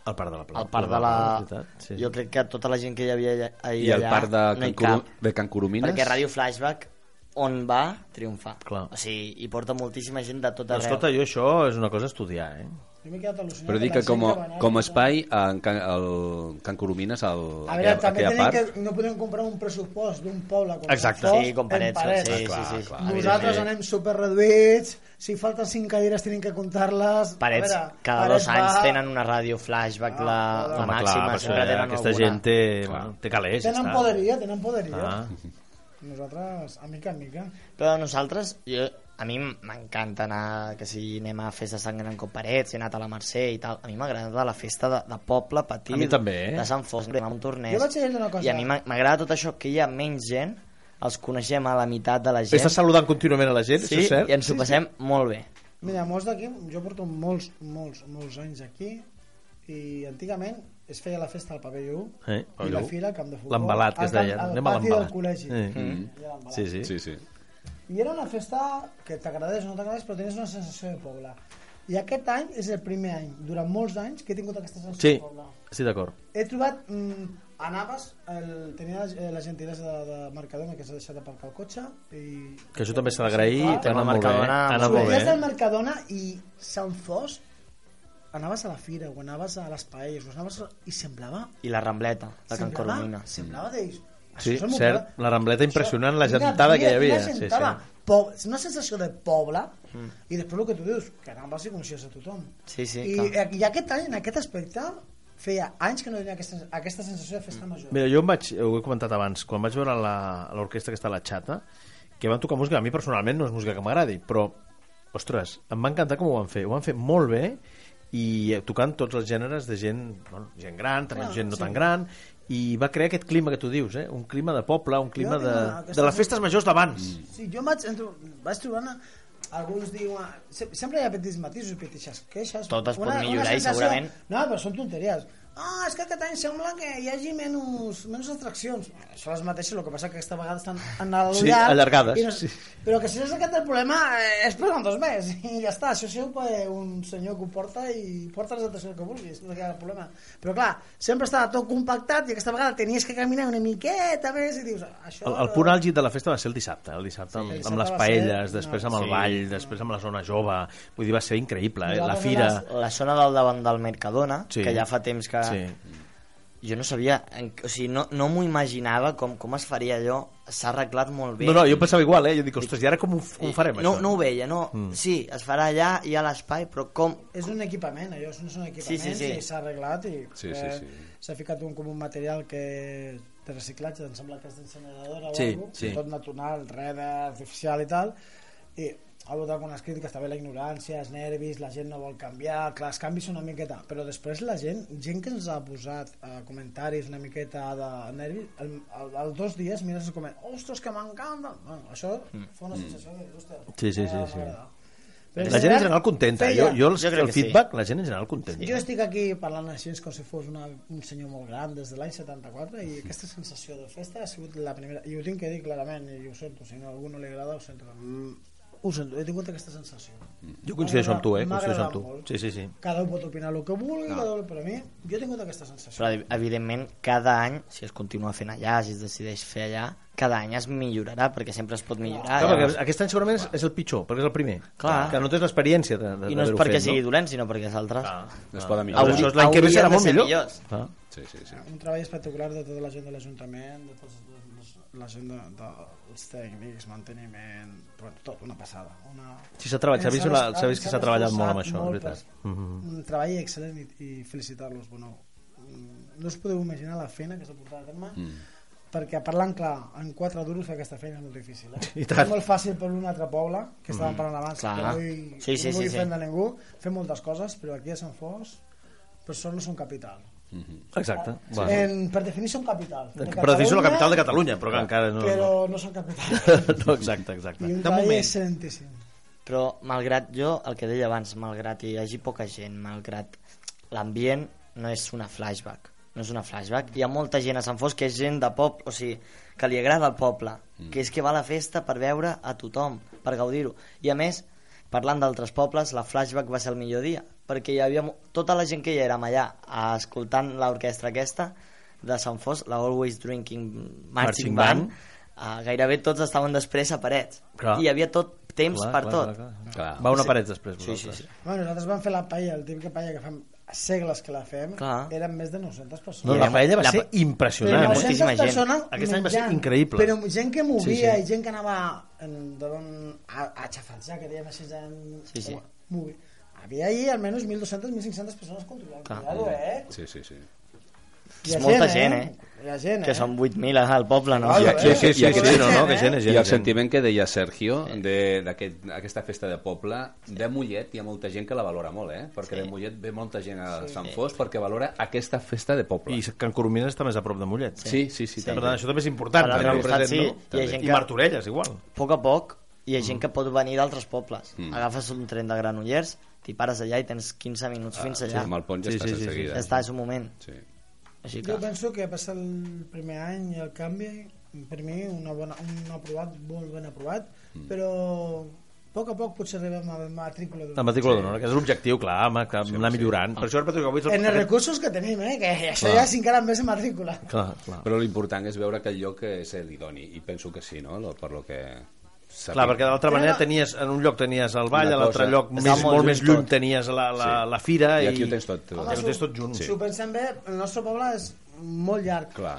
Speaker 2: El Parc de la Pau.
Speaker 3: El Parc de la... Sí. Jo crec que tota la gent que hi havia allà, ahir
Speaker 4: I el
Speaker 3: allà,
Speaker 4: parc de,
Speaker 3: no hi
Speaker 4: Can
Speaker 3: cap.
Speaker 4: Coru- de Can Coromines?
Speaker 3: Perquè Ràdio Flashback, on va, triomfa.
Speaker 2: Clar.
Speaker 3: O sigui, hi porta moltíssima gent de tot
Speaker 2: Però,
Speaker 3: arreu.
Speaker 2: escolta, jo això és una cosa a estudiar, eh?
Speaker 15: Jo m'he quedat al·lucinat.
Speaker 4: Però dic
Speaker 15: de
Speaker 4: que
Speaker 15: la
Speaker 4: com,
Speaker 15: gent va anar.
Speaker 4: com a espai, eh, en Can, el Can Coromines, el,
Speaker 15: A veure, també
Speaker 4: aquella
Speaker 15: tenim
Speaker 4: part...
Speaker 15: que no podem comprar un pressupost d'un poble com
Speaker 4: Exacte.
Speaker 15: Sant Fost
Speaker 4: Sí, com Parets,
Speaker 15: en Parets.
Speaker 4: sí, sí, Clar, sí, sí. clar,
Speaker 15: Nosaltres
Speaker 4: evidentment.
Speaker 15: anem superreduïts, si falten 5 cadires tenim que comptar-les.
Speaker 3: Parets,
Speaker 15: A veure,
Speaker 3: cada
Speaker 15: Parets
Speaker 3: dos anys
Speaker 15: va- Ah,
Speaker 3: tenen una ràdio flashback, la, la
Speaker 2: Home, clar,
Speaker 3: màxima,
Speaker 2: per això,
Speaker 3: sempre
Speaker 2: eh,
Speaker 3: tenen
Speaker 2: aquesta
Speaker 3: alguna.
Speaker 2: gent té, bueno, té calés. ja
Speaker 15: Tenen
Speaker 2: està.
Speaker 15: poderia, tenen poderia.
Speaker 2: Ah.
Speaker 3: eh?
Speaker 15: Nosaltres, a mica en mica.
Speaker 3: Però nosaltres, jo, a mi m'encanta anar, que si anem a festes tan gran com Parets, he anat a la Mercè i tal, a mi m'agrada la festa de, de poble petit,
Speaker 2: A mi també, eh?
Speaker 3: de Sant Fos, a un torneig.
Speaker 15: Jo vaig dir una cosa.
Speaker 3: I a mi m'ag- m'agrada tot això, que hi ha menys gent, els coneixem a la meitat de la gent.
Speaker 2: Estàs saludant contínuament a la gent,
Speaker 3: sí,
Speaker 2: això és cert?
Speaker 3: i ens ho passem molt bé.
Speaker 15: Mira, molts d'aquí, jo porto molts, molts, molts anys aquí i antigament es feia la festa al pavelló 1
Speaker 2: Eh,
Speaker 15: i
Speaker 2: pavelló
Speaker 15: la
Speaker 2: u.
Speaker 15: fira al camp de futbol.
Speaker 2: L'embalat, que es
Speaker 15: al camp-
Speaker 2: deia.
Speaker 15: Al
Speaker 2: Anem a
Speaker 15: pati del
Speaker 2: l'embalat.
Speaker 15: col·legi.
Speaker 2: Eh.
Speaker 15: Mm.
Speaker 2: Sí, sí.
Speaker 4: Sí, sí.
Speaker 15: I era una festa que t'agradés o no t'agradés, però tenies una sensació de poble. I aquest any és el primer any, durant molts anys, que he tingut aquesta sensació
Speaker 2: Sí,
Speaker 15: de poble.
Speaker 2: estic d'acord.
Speaker 15: He trobat... Mm, anaves, el, tenia eh, la, la gentilesa de, de Mercadona que s'ha deixat aparcar el cotxe i
Speaker 2: Que això també s'ha d'agrair,
Speaker 15: Clar.
Speaker 2: ha anat molt bé. Ha anat molt
Speaker 15: Sorties del
Speaker 2: bé. eh?
Speaker 15: Mercadona i Sant Fos anaves a la fira o anaves a les paelles o anaves a... i semblava,
Speaker 3: I la Rambleta, de Can
Speaker 15: semblava,
Speaker 3: Coromina.
Speaker 15: semblava d'ells
Speaker 2: Sí,
Speaker 15: Això és molt
Speaker 2: cert, la rambleta impressionant, la
Speaker 15: Quina
Speaker 2: gentada que
Speaker 15: vida,
Speaker 2: hi havia.
Speaker 15: quina
Speaker 2: Sí, Mm.
Speaker 15: gentada.
Speaker 2: sí.
Speaker 15: Po- és una sensació de poble i després el que tu dius, que anaves i coneixies a tothom
Speaker 3: Sí, sí,
Speaker 15: I,
Speaker 3: clar.
Speaker 15: i aquest any en aquest aspecte feia anys que no tenia aquesta, aquesta sensació de
Speaker 2: Mm.
Speaker 15: festa major
Speaker 2: Mira, jo em vaig, ho he comentat abans, quan vaig veure la- l'orquestra que està a la xata, que van tocar música, a mi personalment no és música que m'agradi, però, ostres, em va encantar com ho van fer. Ho van fer molt bé i eh, tocant tots els gèneres de gent, bueno, gent gran, també
Speaker 15: Ah,
Speaker 2: gent no
Speaker 15: sí.
Speaker 2: tan gran, i va crear aquest clima que tu dius, eh? un clima de poble, un clima
Speaker 15: tinc
Speaker 2: de,
Speaker 15: una- aquesta- Mm.
Speaker 2: de les festes majors d'abans.
Speaker 15: Sí, jo em vaig, entro, vaig trobant alguns diuen... se- Sempre hi ha petits matisos, petites queixes.
Speaker 3: Tot es pot millorar i
Speaker 15: sensació-
Speaker 3: segurament-
Speaker 15: No, però són tonteries. Ah, és que aquest any sembla que hi hagi menys, menys atraccions. Són les mateixes, el que passa que aquesta vegada estan enallargades.
Speaker 3: Sí, allargades,
Speaker 15: i No...
Speaker 3: sí.
Speaker 15: Però que si és aquest el problema, eh, és per un dos més. I ja està, això sí ho pot un senyor que ho porta i porta les atraccions que vulguis. No hi ha cap problema. Però clar, sempre estava tot compactat i aquesta vegada tenies que caminar una miqueta més i dius... "Ah, Això...
Speaker 2: El, el punt àlgid de la festa va ser el dissabte, el dissabte amb,
Speaker 15: dissabte
Speaker 2: amb les
Speaker 15: va ser-
Speaker 2: paelles, després amb el
Speaker 3: Sí.
Speaker 2: ball, després amb la zona jove, vull dir, va ser increïble, eh? la
Speaker 3: Nosaltres
Speaker 2: fira...
Speaker 3: a La, la zona del davant del Mercadona,
Speaker 2: Sí.
Speaker 3: sí. que ja fa temps que...
Speaker 2: Sí.
Speaker 3: Jo no sabia, en- o sigui, no, no m'ho imaginava com, com es faria allò. S'ha arreglat molt bé.
Speaker 2: No, no, jo pensava igual, eh? Jo dic, ostres, i ara com ho, com ho farem,
Speaker 3: no,
Speaker 2: això?
Speaker 3: no ho veia, no.
Speaker 2: Mm.
Speaker 3: Mm. Sí, es farà allà, hi ha l'espai, però com...
Speaker 15: És un equipament, allò són, són equipaments
Speaker 3: Sí, sí, sí.
Speaker 15: i s'ha arreglat i
Speaker 3: Sí,
Speaker 15: eh,
Speaker 3: sí, sí.
Speaker 15: s'ha ficat un, com un material que de reciclatge, em sembla que és d'incineradora
Speaker 2: Sí,
Speaker 15: o alguna
Speaker 2: sí.
Speaker 15: tot natural, res d'artificial i tal, i ha hagut algunes crítiques, també la ignorància, els nervis, la gent no vol canviar, clar, els canvis són una miqueta, però després la gent, gent que ens ha posat eh, comentaris una miqueta de nervis, el, el, el dos dies mires i comenta, ostres, que m'encanta! Bueno, això
Speaker 2: Mm.
Speaker 15: fa una
Speaker 2: Mm.
Speaker 15: sensació de, ostres,
Speaker 2: Sí, sí, sí.
Speaker 15: m'agrada,
Speaker 2: sí.
Speaker 15: m'agrada. Però
Speaker 2: La gent en general contenta. Jo, jo el,
Speaker 3: Jo crec
Speaker 2: el
Speaker 3: que sí.
Speaker 2: feedback, la gent en general contenta.
Speaker 15: jo estic aquí parlant així com si fos una, un senyor molt gran des de l'any 74 i aquesta sensació de festa ha sigut la primera i ho tinc que dir clarament i ho sento, si a algú no li agrada ho sento Mm, ho sento, he tingut aquesta sensació
Speaker 2: Jo coincideixo amb tu, eh?
Speaker 15: M'ha
Speaker 2: Coincideixo amb tu.
Speaker 15: agradat molt.
Speaker 2: Sí, sí, sí.
Speaker 15: cada un pot opinar el que vulgui
Speaker 3: No.
Speaker 15: cada un, però a mi, jo he tingut aquesta sensació
Speaker 3: Però, evidentment, cada any, si es continua fent allà, si es decideix fer allà, cada any es millorarà, perquè sempre es pot millorar.
Speaker 2: Clar,
Speaker 3: Llavors-
Speaker 2: perquè aquest any segurament és, és el pitjor, perquè és el primer.
Speaker 3: Ah, Clar.
Speaker 2: Que no tens l'experiència de, de
Speaker 3: I no és
Speaker 2: d'haver-ho
Speaker 3: perquè
Speaker 2: fet,
Speaker 3: sigui
Speaker 2: no?
Speaker 3: dolent, sinó perquè els altres...
Speaker 2: Ah,
Speaker 4: es poden millorar.
Speaker 3: Hauria-
Speaker 2: Això és l'any que ve
Speaker 3: haurien de
Speaker 2: serà molt
Speaker 3: ser
Speaker 2: millor.
Speaker 3: millors.
Speaker 2: Ah.
Speaker 4: Sí, sí, sí.
Speaker 15: un treball espectacular de tota la gent de l'Ajuntament de tots els, la gent de, dels tècnics, manteniment bueno, tot, una passada una...
Speaker 2: Sí, s'ha treballat, s'ha vist la- s'ha vist que s'ha treballat molt amb això,
Speaker 15: Molt
Speaker 2: és veritat.
Speaker 15: per-
Speaker 2: Mhm.
Speaker 15: Un treball excel·lent i, i felicitar-los bueno, mm, no us podeu imaginar la feina que s'ha portat a terme
Speaker 2: Mm.
Speaker 15: perquè parlant clar, en quatre duros fer aquesta feina és molt difícil eh?
Speaker 2: I tant.
Speaker 15: és molt fàcil per un altre poble que estàvem
Speaker 2: Mhm.
Speaker 15: parlant abans
Speaker 2: Clar.
Speaker 15: que no vull,
Speaker 2: Sí, sí,
Speaker 15: no vull
Speaker 2: sí,
Speaker 15: fer
Speaker 2: sí.
Speaker 15: de ningú fer moltes coses, però aquí a Sant Fos per sort no són capital
Speaker 2: Exacte.
Speaker 15: Sí.
Speaker 3: Eh,
Speaker 15: En, per definició un capital. De
Speaker 2: Per definició la capital de Catalunya, però que encara no...
Speaker 15: Però no són capital.
Speaker 2: no, exacte, exacte.
Speaker 15: I un
Speaker 3: De
Speaker 15: de moment.
Speaker 3: moment.
Speaker 15: excel·lentíssim.
Speaker 3: Però, malgrat jo, el que deia abans, malgrat hi hagi poca gent, malgrat l'ambient, no és una flashback. No és una flashback. Hi ha molta gent a Sant Fos que és gent de pop, o sigui, que li agrada el poble,
Speaker 2: Mm.
Speaker 3: que és que va a la festa per veure a tothom, per gaudir-ho. I a més, parlant d'altres pobles, la flashback va ser el millor dia, perquè hi havia mo- tota la gent que hi érem allà, eh, escoltant l'orquestra aquesta de Sant Fos, la Always Drinking Marching,
Speaker 2: Marching
Speaker 3: Band,
Speaker 2: Band.
Speaker 3: eh, gairebé tots estaven després a parets.
Speaker 2: Clar.
Speaker 3: I hi havia tot temps
Speaker 2: Clar,
Speaker 3: per
Speaker 2: clar,
Speaker 3: tot.
Speaker 2: clar, clar. Clar. Va una paret després,
Speaker 3: Sí, sí,
Speaker 2: vosaltres.
Speaker 3: sí.
Speaker 15: Bueno, nosaltres vam fer la paella, el típica paella que fem segles que la fem,
Speaker 2: Clar.
Speaker 15: eren més de 900 persones.
Speaker 2: No, la paella va
Speaker 3: La-
Speaker 2: ser impressionant.
Speaker 15: Però 900 persones
Speaker 2: Aquest any va ser
Speaker 15: menjant.
Speaker 2: increïble.
Speaker 15: Però gent que movia
Speaker 2: Sí, sí.
Speaker 15: i gent que anava en, d'on, a, a xafatjar, que dèiem així... En,
Speaker 3: Sí, sí.
Speaker 15: Movi. Havia ahir almenys 1.200, 1.500 persones controlant.
Speaker 3: Clar.
Speaker 15: Cuidado, eh?
Speaker 4: Sí, sí, sí.
Speaker 15: Hi ha
Speaker 3: És molta gent,
Speaker 15: gent, eh?
Speaker 3: eh?
Speaker 15: Hi ha gent, eh?
Speaker 3: Que són 8.000 al poble, no?
Speaker 4: I, i, i, i,
Speaker 2: Ah, sí, no, no, que gent,
Speaker 4: i
Speaker 2: gent,
Speaker 4: el
Speaker 2: gent.
Speaker 4: sentiment que deia Sergio d'aquesta aquest, festa de poble de Mollet hi ha molta gent que la valora molt eh? perquè de Mollet ve molta gent a
Speaker 2: Sí.
Speaker 4: Sant Fos perquè valora aquesta festa de poble
Speaker 2: I Can Coromines està més a prop de Mollet.
Speaker 4: Sí, sí, sí,
Speaker 2: Per
Speaker 4: també.
Speaker 2: tant, això també és important.
Speaker 3: Per
Speaker 2: tenir-ho
Speaker 3: altre costat,
Speaker 2: present,
Speaker 3: sí, hi ha gent
Speaker 2: no? I
Speaker 3: que-
Speaker 2: Martorelles, igual.
Speaker 3: A poc a poc hi ha
Speaker 2: Mm.
Speaker 3: gent que pot venir d'altres pobles. Agafes un tren de Granollers, t'hi pares allà i tens 15 minuts
Speaker 4: Ah,
Speaker 3: fins
Speaker 4: sí,
Speaker 3: allà.
Speaker 4: amb el pont ja Sí, estàs sí, sí, enseguida.
Speaker 3: Ja està, és un moment.
Speaker 4: Sí.
Speaker 3: Així
Speaker 15: Jo
Speaker 3: que...
Speaker 15: penso que passar el primer any i el canvi, per mi, una bona, un aprovat, molt ben aprovat, mm. però a poc a poc potser arribem a la matrícula d'honor.
Speaker 2: La matrícula d'honor, que és l'objectiu, clar, home, que anar millorant. Per això el Patrick avui... és el-
Speaker 15: En els recursos que tenim, eh? que això
Speaker 4: Clar.
Speaker 15: ja és encara més en matrícula.
Speaker 2: Clar, clar.
Speaker 4: però l'important és veure que el lloc és l'idoni i penso que sí, no? Lo- per lo que
Speaker 2: Clar, perquè de l'altra manera tenies, en un lloc tenies el ball,
Speaker 4: Una
Speaker 2: a l'altre
Speaker 4: cosa.
Speaker 2: lloc
Speaker 4: Està
Speaker 2: més, molt,
Speaker 4: molt
Speaker 2: més
Speaker 4: lluny
Speaker 2: lluny
Speaker 4: tot.
Speaker 2: tenies la, la,
Speaker 4: Sí.
Speaker 2: la fira.
Speaker 4: I aquí ho tens tot.
Speaker 2: Aquí
Speaker 15: Home,
Speaker 2: ho tens tot junt.
Speaker 15: Si ho pensem bé, el nostre poble és molt llarg.
Speaker 4: Clar.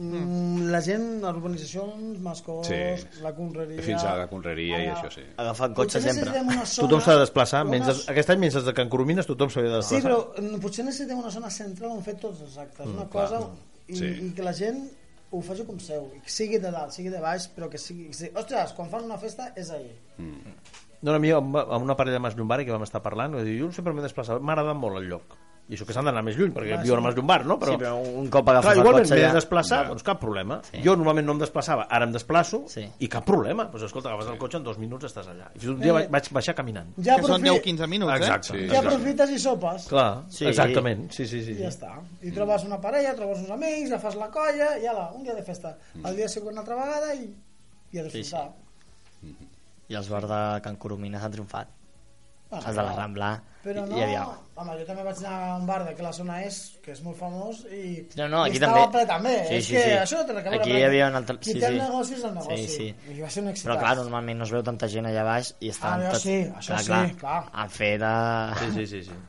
Speaker 15: Mm. La gent, les urbanitzacions, Mascós,
Speaker 4: Sí.
Speaker 15: la conreria...
Speaker 4: fins a la conreria i
Speaker 15: Ara-
Speaker 4: això sí
Speaker 3: Agafant
Speaker 15: Potser necessitem una zona-
Speaker 2: Tothom s'ha de desplaçar,
Speaker 15: una-
Speaker 2: menys, aquest any menys els de Can Coromines tothom s'havia de
Speaker 15: Sí,
Speaker 2: desplaçar.
Speaker 15: però mm, potser necessitem una zona central on fer tots els actes,
Speaker 2: Mm,
Speaker 15: una
Speaker 2: clar.
Speaker 15: cosa i,
Speaker 2: Sí.
Speaker 15: i que la gent ho faci com seu, i que sigui de dalt, sigui de baix, però que sigui... Que sigui Ostres, quan fan una festa és ahir.
Speaker 2: No, a mi, amb amb una parella de Mas Llombari que vam estar parlant, va dir, jo sempre m'he desplaçat, m'ha agradat molt el lloc. I això que s'han d'anar més lluny, perquè ah, viuen al Mas d'un bar, no?
Speaker 3: Sí, però un cop agafes
Speaker 2: clar,
Speaker 3: el
Speaker 2: igualment
Speaker 3: cotxe
Speaker 2: m'he
Speaker 3: ja-
Speaker 2: de desplaçar, doncs cap problema. Jo normalment no em desplaçava, ara em desplaço sí. i cap problema. Doncs escolta, agafes el cotxe, en dos minuts estàs allà. I fins un dia
Speaker 15: Eh.
Speaker 2: vaig, vaig baixar caminant.
Speaker 15: Ja Que són aprofi-
Speaker 10: 10-15 minuts, eh?
Speaker 2: Exacte.
Speaker 10: Sí.
Speaker 2: Sí.
Speaker 15: Ja aprofites i sopes.
Speaker 2: Clar, Mm.
Speaker 15: Sí.
Speaker 2: sí. exactament. Sí, sí, sí.
Speaker 15: I
Speaker 2: sí.
Speaker 15: ja està. I trobes una parella, trobes uns amics, agafes la colla i ala, un dia de festa.
Speaker 2: Mm.
Speaker 15: El dia següent una altra vegada i, i a disfrutar.
Speaker 3: I els bars de Can Coromines han triomfat.
Speaker 15: Ah,
Speaker 3: els de la
Speaker 15: clar.
Speaker 3: Rambla.
Speaker 15: Però no,
Speaker 3: Hi havia...
Speaker 15: home, jo també vaig anar a un bar d'aquí la zona est, que és molt famós, i,
Speaker 3: No, no,
Speaker 15: i
Speaker 3: aquí
Speaker 15: estava
Speaker 3: també.
Speaker 15: ple també. eh?
Speaker 3: Sí,
Speaker 15: és
Speaker 3: sí,
Speaker 15: que
Speaker 3: sí.
Speaker 15: això no té res a veure.
Speaker 3: Aquí hi
Speaker 15: perquè
Speaker 3: havia un altre...
Speaker 15: Qui
Speaker 3: Sí,
Speaker 15: té el
Speaker 3: sí.
Speaker 15: negoci és el negoci.
Speaker 3: Sí, sí.
Speaker 15: I va ser un èxit.
Speaker 3: Però clar, normalment no es veu tanta gent allà baix i estaven
Speaker 15: allò
Speaker 3: tots...
Speaker 15: Ah, sí, això sí, clar.
Speaker 3: Han fet de...
Speaker 2: Sí, sí, sí, sí.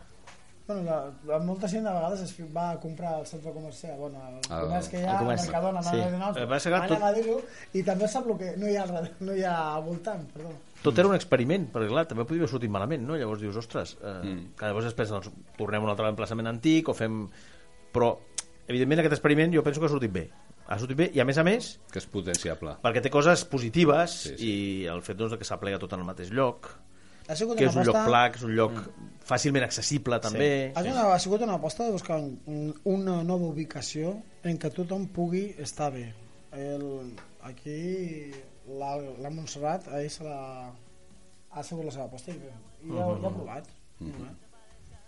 Speaker 15: Bueno, la, la, molta gent de vegades es va a comprar al centre comercial, bueno, al
Speaker 2: Al-
Speaker 15: comerç que hi
Speaker 2: al
Speaker 15: ha, al
Speaker 2: comerç.
Speaker 15: Mercadona,
Speaker 2: Sí.
Speaker 15: sí. no,
Speaker 2: Eh, va ser que tot-
Speaker 15: a dir-ho, i també sap el que no hi ha, al darrere- no hi ha al voltant, perdó.
Speaker 2: Tot era un experiment, perquè clar, també podia haver sortit malament, no? Llavors dius, ostres, eh, mm. que llavors es pensen, doncs, tornem a un altre emplaçament antic o fem... Però, evidentment, aquest experiment jo penso que ha sortit bé. Ha sortit bé i, a més a més,
Speaker 4: que és potenciable.
Speaker 2: perquè té coses positives sí, sí. i el fet doncs, de que s'aplega tot en el mateix lloc,
Speaker 15: Ha sigut
Speaker 2: que
Speaker 15: una
Speaker 2: és un lloc
Speaker 15: aposta-
Speaker 2: pla, que és un lloc mm. fàcilment accessible també.
Speaker 15: Ha, una, ha sigut una aposta de buscar un, una nova ubicació en què tothom pugui estar bé. El, aquí la, la Montserrat ahir se la, ha sigut la seva aposta i, i ja, ja
Speaker 2: Mm-hmm.
Speaker 15: ha provat. Mm -hmm.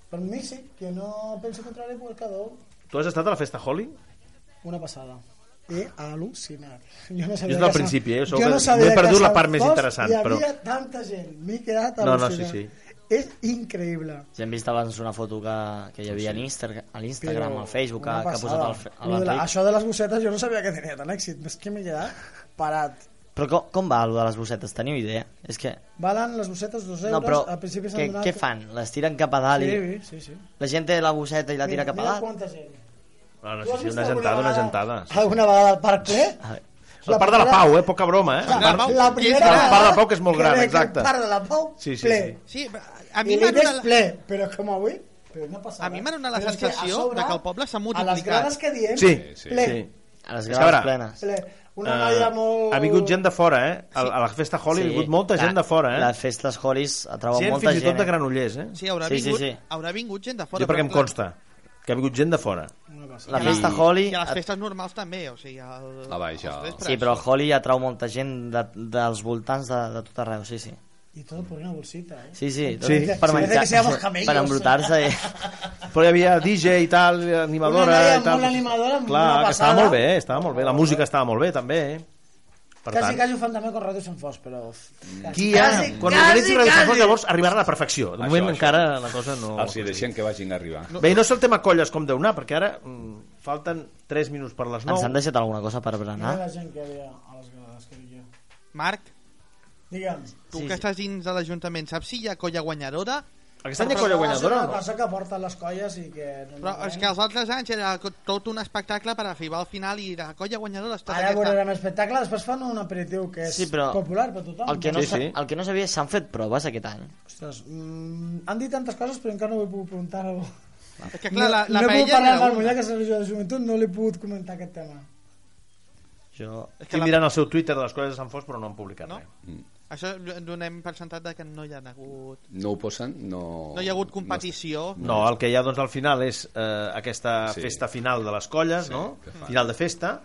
Speaker 15: Per mi sí, que no penso contrari perquè quedó
Speaker 2: Tu has estat a la Festa Holly?
Speaker 15: una passada. He al·lucinat. Jo no
Speaker 2: Jo des del
Speaker 15: que
Speaker 2: principi, eh,
Speaker 15: se-
Speaker 2: això
Speaker 15: jo
Speaker 2: que
Speaker 15: no sabia
Speaker 2: m'he
Speaker 15: que
Speaker 2: perdut la
Speaker 15: se-
Speaker 2: part més
Speaker 15: dos
Speaker 2: interessant,
Speaker 15: Hi havia
Speaker 2: però-
Speaker 15: tanta gent, m'he quedat
Speaker 2: No, no,
Speaker 15: al·lucinat.
Speaker 2: sí, sí.
Speaker 15: És increïble.
Speaker 3: Ja hem vist abans una foto que, que hi havia
Speaker 15: Sí.
Speaker 3: a l'Insta- a l'Instagram, al Facebook, que,
Speaker 15: Una
Speaker 3: que ha posat el,
Speaker 15: passada.
Speaker 3: Fe-
Speaker 15: Lo de la-
Speaker 3: l'Enric.
Speaker 15: Això de les bossetes jo no sabia que tenia tant èxit, és que m'he quedat parat.
Speaker 3: Però com, com va allò de les bossetes? Teniu idea? És que...
Speaker 15: Valen les bossetes dos euros,
Speaker 3: No, però
Speaker 15: al principi s'han
Speaker 3: què,
Speaker 15: donat...
Speaker 3: què fan? Les tiren cap a dalt i...
Speaker 15: Sí, sí, sí.
Speaker 3: La gent té la bosseta i la tira
Speaker 15: Mira-
Speaker 3: cap a
Speaker 15: mira
Speaker 3: dalt?
Speaker 15: quanta gent.
Speaker 2: Ah, No, no,
Speaker 15: Tu
Speaker 2: sí,
Speaker 15: has
Speaker 2: sí,
Speaker 15: vist
Speaker 2: una
Speaker 15: alguna
Speaker 2: gentada, una
Speaker 15: vegada-
Speaker 2: gentada. Sí.
Speaker 15: Alguna vegada al parc ple?
Speaker 3: Ah,
Speaker 2: La, part de la Pau, eh? Poca broma, eh?
Speaker 15: La,
Speaker 2: part-
Speaker 15: la, la primera
Speaker 2: La part de la
Speaker 15: vegada
Speaker 2: Pau, que és molt gran,
Speaker 15: veig el
Speaker 2: exacte.
Speaker 15: parc de la Pau,
Speaker 2: Sí, sí,
Speaker 15: ple.
Speaker 2: sí.
Speaker 10: Sí,
Speaker 15: a
Speaker 10: a
Speaker 15: mi
Speaker 10: mi
Speaker 15: I
Speaker 10: m'ha
Speaker 15: l'hi veig
Speaker 10: donat la-
Speaker 15: ple, però com avui, però una passada.
Speaker 10: A mi m'ha donat la
Speaker 15: Però és que a
Speaker 10: sensació
Speaker 15: sobre,
Speaker 10: de que el poble s'ha
Speaker 15: A les
Speaker 10: multiplicat.
Speaker 15: grades que diem,
Speaker 2: Sí, sí.
Speaker 15: ple.
Speaker 2: sí.
Speaker 3: A les
Speaker 2: És que,
Speaker 3: grades
Speaker 2: a veure,
Speaker 3: plenes.
Speaker 15: ple. Una
Speaker 2: eh,
Speaker 15: noia molt...
Speaker 2: Ha vingut gent de fora, eh? A, a la festa Holly sí. ha vingut molta gent de fora, eh?
Speaker 3: Les festes Hollies atrauen
Speaker 2: Gent
Speaker 3: molta
Speaker 2: fins i
Speaker 3: gent.
Speaker 2: tot de Granollers, eh?
Speaker 10: Sí, haurà,
Speaker 3: Sí, sí,
Speaker 10: vingut,
Speaker 3: sí.
Speaker 10: haurà vingut gent de fora.
Speaker 2: Jo perquè em
Speaker 15: eh?
Speaker 10: però-
Speaker 2: consta que ha vingut gent de fora.
Speaker 3: La festa Holly...
Speaker 10: I a les festes normals també, o sigui... El...
Speaker 4: Ah, vaja.
Speaker 3: Sí, però el Holly atrau molta gent de, dels voltants de, de tot arreu, sí, sí.
Speaker 15: I tot por una bolsita, eh?
Speaker 3: Sí, sí, tot
Speaker 2: Sí.
Speaker 3: per
Speaker 2: Sí.
Speaker 3: menjar,
Speaker 2: Que sean los camellos.
Speaker 3: per embrutar-se. I...
Speaker 2: Però hi havia DJ i tal, animadora...
Speaker 15: Una noia
Speaker 2: i tal.
Speaker 15: molt animadora, amb
Speaker 2: Clar,
Speaker 15: una
Speaker 2: que
Speaker 15: passada.
Speaker 2: estava molt bé, eh? estava molt bé. La música estava molt bé, també, eh? Per
Speaker 15: quasi,
Speaker 2: tant,
Speaker 15: quasi ho fan també amb Ràdio Sant Fos, però...
Speaker 3: Mm.
Speaker 2: Qui ha, quan organitzi Radio Sant Fons, llavors arribarà a la perfecció. De
Speaker 4: Això,
Speaker 2: moment
Speaker 4: això.
Speaker 2: encara la cosa no...
Speaker 4: Els hi deixem que vagin a arribar.
Speaker 2: Bé, i no saltem a colles com deu anar, perquè ara mm, falten 3 minuts per les 9.
Speaker 3: Ens han deixat alguna cosa per berenar?
Speaker 15: Mira la gent que hi havia a les grades que dic jo.
Speaker 10: Marc,
Speaker 15: Digue'm.
Speaker 10: tu que estàs dins de l'Ajuntament, saps si hi ha colla guanyadora?
Speaker 15: És una cosa que porten les colles i que...
Speaker 10: Però és que els altres anys era co- tot un espectacle per arribar al final i la colla guanyadora està
Speaker 15: Ara veurem espectacle, després fan un aperitiu que és
Speaker 3: Sí, però
Speaker 15: popular per tothom.
Speaker 3: El que no, sa- el que no sabia, s'han fet proves aquest any.
Speaker 15: Ostres, mm, han dit tantes coses però encara no ho he pogut preguntar. No,
Speaker 10: És que clar, la, la
Speaker 15: no he pogut
Speaker 10: paella
Speaker 15: parlar amb
Speaker 10: era
Speaker 15: el
Speaker 10: una.
Speaker 15: muller que és religió de joventut, no l'he pogut comentar aquest tema.
Speaker 3: Jo...
Speaker 2: Estic mirant el seu Twitter de les colles de Sant Fons, però no han publicat no? res.
Speaker 10: Això donem per sentat de que no hi ha hagut...
Speaker 4: No ho posen? No...
Speaker 10: Oh, No hi ha hagut competició.
Speaker 2: No, el que hi ha doncs, al final és eh, aquesta
Speaker 4: Sí.
Speaker 2: festa final de les colles, no?
Speaker 4: que fan.
Speaker 2: final de festa,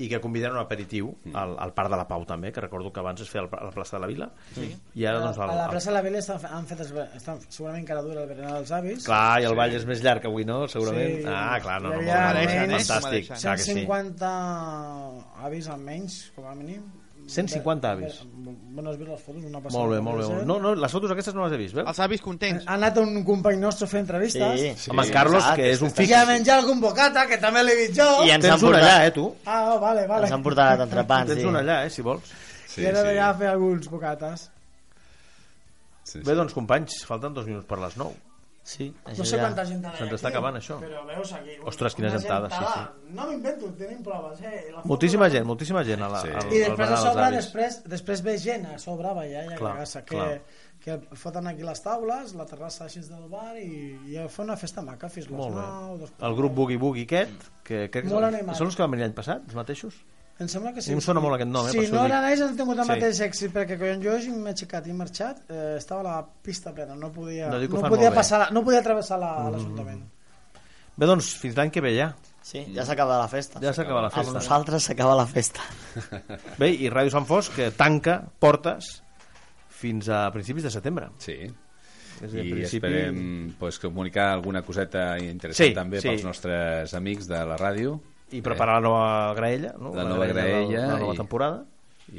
Speaker 2: i que convidaran un aperitiu al, al Parc de la Pau també, que recordo que abans es feia al- a la plaça de la Vila sí. i ara doncs
Speaker 15: a
Speaker 2: al,
Speaker 15: la
Speaker 2: al,
Speaker 15: plaça de la Vila estan, fe- han fet, es- estan, segurament encara dura el berenar dels avis.
Speaker 2: clar, i el ball és més llarg avui, no? segurament,
Speaker 15: Sí.
Speaker 2: ah, clar, no,
Speaker 15: Hi
Speaker 2: no,
Speaker 15: havia
Speaker 2: molt bé,
Speaker 15: almenys
Speaker 2: fantàstic clar que sí.
Speaker 15: 150 avis almenys, com a mínim.
Speaker 2: 150 avis.
Speaker 15: Bueno, has vist les fotos, una passada.
Speaker 2: molt bé, molt bé, molt bé. no, no, les fotos aquestes no les he vist veus?
Speaker 10: Els avis contents.
Speaker 15: Ha anat un company nostre a fer entrevistes.
Speaker 2: amb en Carlos, que és un
Speaker 15: I
Speaker 2: fix
Speaker 15: a menjar algun bocata, que també l'he dit jo.
Speaker 2: I ens Tens han un portat- allà, eh, tu?
Speaker 15: Ah, vale, vale.
Speaker 3: Ens han portat entrepans,
Speaker 2: tens
Speaker 3: Ah, sí.
Speaker 2: un allà, eh, si vols
Speaker 15: Sí, I ara sí. a fer alguns bocates.
Speaker 2: bé, doncs companys, falten dos minuts per les 9
Speaker 3: sí,
Speaker 15: No sé quanta gent hi ha
Speaker 2: se'ns està
Speaker 15: aquí,
Speaker 2: acabant això
Speaker 15: Però veus aquí... una-
Speaker 2: Ostres, quina
Speaker 15: una
Speaker 2: gentada, sí, sí.
Speaker 15: No m'invento, tenim proves, eh? La foto-
Speaker 2: Moltíssima gent, moltíssima gent a la,
Speaker 15: Sí.
Speaker 2: al, al
Speaker 15: I després
Speaker 2: berenar
Speaker 15: a
Speaker 2: dels
Speaker 15: sobre,
Speaker 2: avis.
Speaker 15: després, després ve gent a sobre a ballar i a
Speaker 2: Clar,
Speaker 15: cagar-se, que,
Speaker 2: clar.
Speaker 15: que foten aquí les taules, la terrassa així del bar i, i fa una festa maca fins les
Speaker 2: Molt bé.
Speaker 15: 9, dos quarts.
Speaker 2: El grup Boogie Boogie aquest, que crec que
Speaker 15: Molt
Speaker 2: són-
Speaker 15: animat.
Speaker 2: són els que van venir l'any passat, els mateixos?
Speaker 15: Em sembla que sí.
Speaker 2: A mi em sona molt aquest nom, eh,
Speaker 15: Si
Speaker 2: per això
Speaker 15: no
Speaker 2: ho dic.
Speaker 15: eren ells, han tingut el
Speaker 2: Sí.
Speaker 15: mateix èxit, perquè quan jo m'he aixecat i he marxat, eh, estava la pista plena, no podia,
Speaker 2: No dic que ho
Speaker 15: no
Speaker 2: fan
Speaker 15: podia,
Speaker 2: molt bé. Mm-hmm.
Speaker 15: passar, la- no podia travessar la- l'Ajuntament.
Speaker 2: Bé, doncs, fins l'any que ve ja.
Speaker 3: Sí, ja s'acaba la festa.
Speaker 2: Ja s'acaba la festa.
Speaker 3: Amb nosaltres s'acaba la festa.
Speaker 2: Bé, i Ràdio Sant Fos, que tanca portes fins a principis de setembre.
Speaker 4: Sí.
Speaker 2: És a dir,
Speaker 4: I
Speaker 2: a principi-
Speaker 4: esperem pues, comunicar alguna coseta interessant
Speaker 2: Sí,
Speaker 4: també
Speaker 2: sí.
Speaker 4: pels nostres amics de la ràdio.
Speaker 2: I preparar la nova graella, no?
Speaker 4: La nova graella
Speaker 2: La, la nova
Speaker 4: i-
Speaker 2: temporada.
Speaker 4: Eh? I,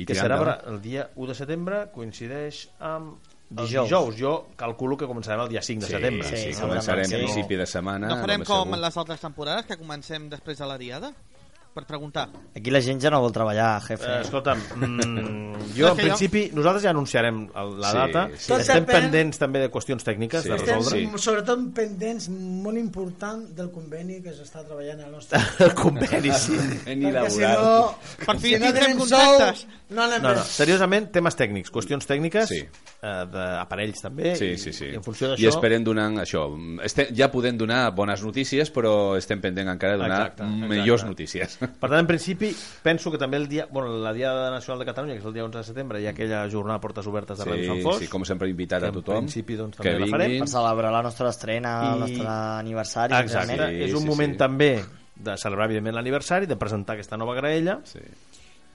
Speaker 4: i
Speaker 2: que
Speaker 4: tirar
Speaker 2: serà
Speaker 4: endavant.
Speaker 2: el dia 1 de setembre, coincideix amb el
Speaker 4: Dijous.
Speaker 2: dijous. Jo calculo que començarem el dia 5 de
Speaker 4: Sí,
Speaker 2: setembre. Eh,
Speaker 4: sí, Sí, començarem segurament, sí. a principi de setmana,
Speaker 10: Ah, No farem
Speaker 4: només
Speaker 10: com
Speaker 4: segur.
Speaker 10: en les altres temporades, que comencem després de la diada? Per preguntar.
Speaker 3: Aquí la gent ja no vol treballar, jefe.
Speaker 2: Eh, escolta'm, mm, jo
Speaker 10: que
Speaker 2: en
Speaker 10: jo-
Speaker 2: principi, nosaltres ja anunciarem el- la
Speaker 4: Sí,
Speaker 2: data.
Speaker 4: sí. Tot
Speaker 2: Estem
Speaker 15: depèn-
Speaker 2: pendents també de qüestions tècniques
Speaker 4: Sí.
Speaker 2: de
Speaker 4: Estem-
Speaker 2: resoldre.
Speaker 4: Sí.
Speaker 15: Sobretot pendents molt important del conveni que s'està treballant al nostre...
Speaker 2: El conveni, sí.
Speaker 4: Conveni
Speaker 15: Perquè si
Speaker 4: laboral.
Speaker 15: no...
Speaker 10: Per fi
Speaker 15: si no
Speaker 10: tindrem
Speaker 15: tenim
Speaker 10: contactes.
Speaker 15: sou, no anem
Speaker 2: No, no,
Speaker 15: res.
Speaker 2: seriosament, temes tècnics, qüestions tècniques,
Speaker 4: Sí.
Speaker 2: sí. eh, d'aparells també,
Speaker 4: Sí,
Speaker 2: i-
Speaker 4: sí, sí.
Speaker 2: i en funció
Speaker 4: I
Speaker 2: d'això...
Speaker 4: esperem donar això. Estem, ja podem donar bones notícies, però estem pendent encara de donar
Speaker 2: Exacte, exacte. Doncs
Speaker 4: millors notícies.
Speaker 2: Per tant, en principi, penso que també el dia, bueno, la Diada Nacional de Catalunya, que és el dia 11 de setembre, hi ha aquella jornada a portes obertes de
Speaker 4: Sí,
Speaker 2: Ràdio Sant Fos.
Speaker 4: sí, com sempre, invitat
Speaker 2: que
Speaker 4: a tothom
Speaker 2: En principi, doncs,
Speaker 4: que
Speaker 2: també la farem.
Speaker 3: Per celebrar la nostra estrena, I... el nostre aniversari.
Speaker 2: Exacte,
Speaker 3: realment.
Speaker 2: és un moment també de celebrar, evidentment, l'aniversari, de presentar aquesta nova graella.
Speaker 4: Sí.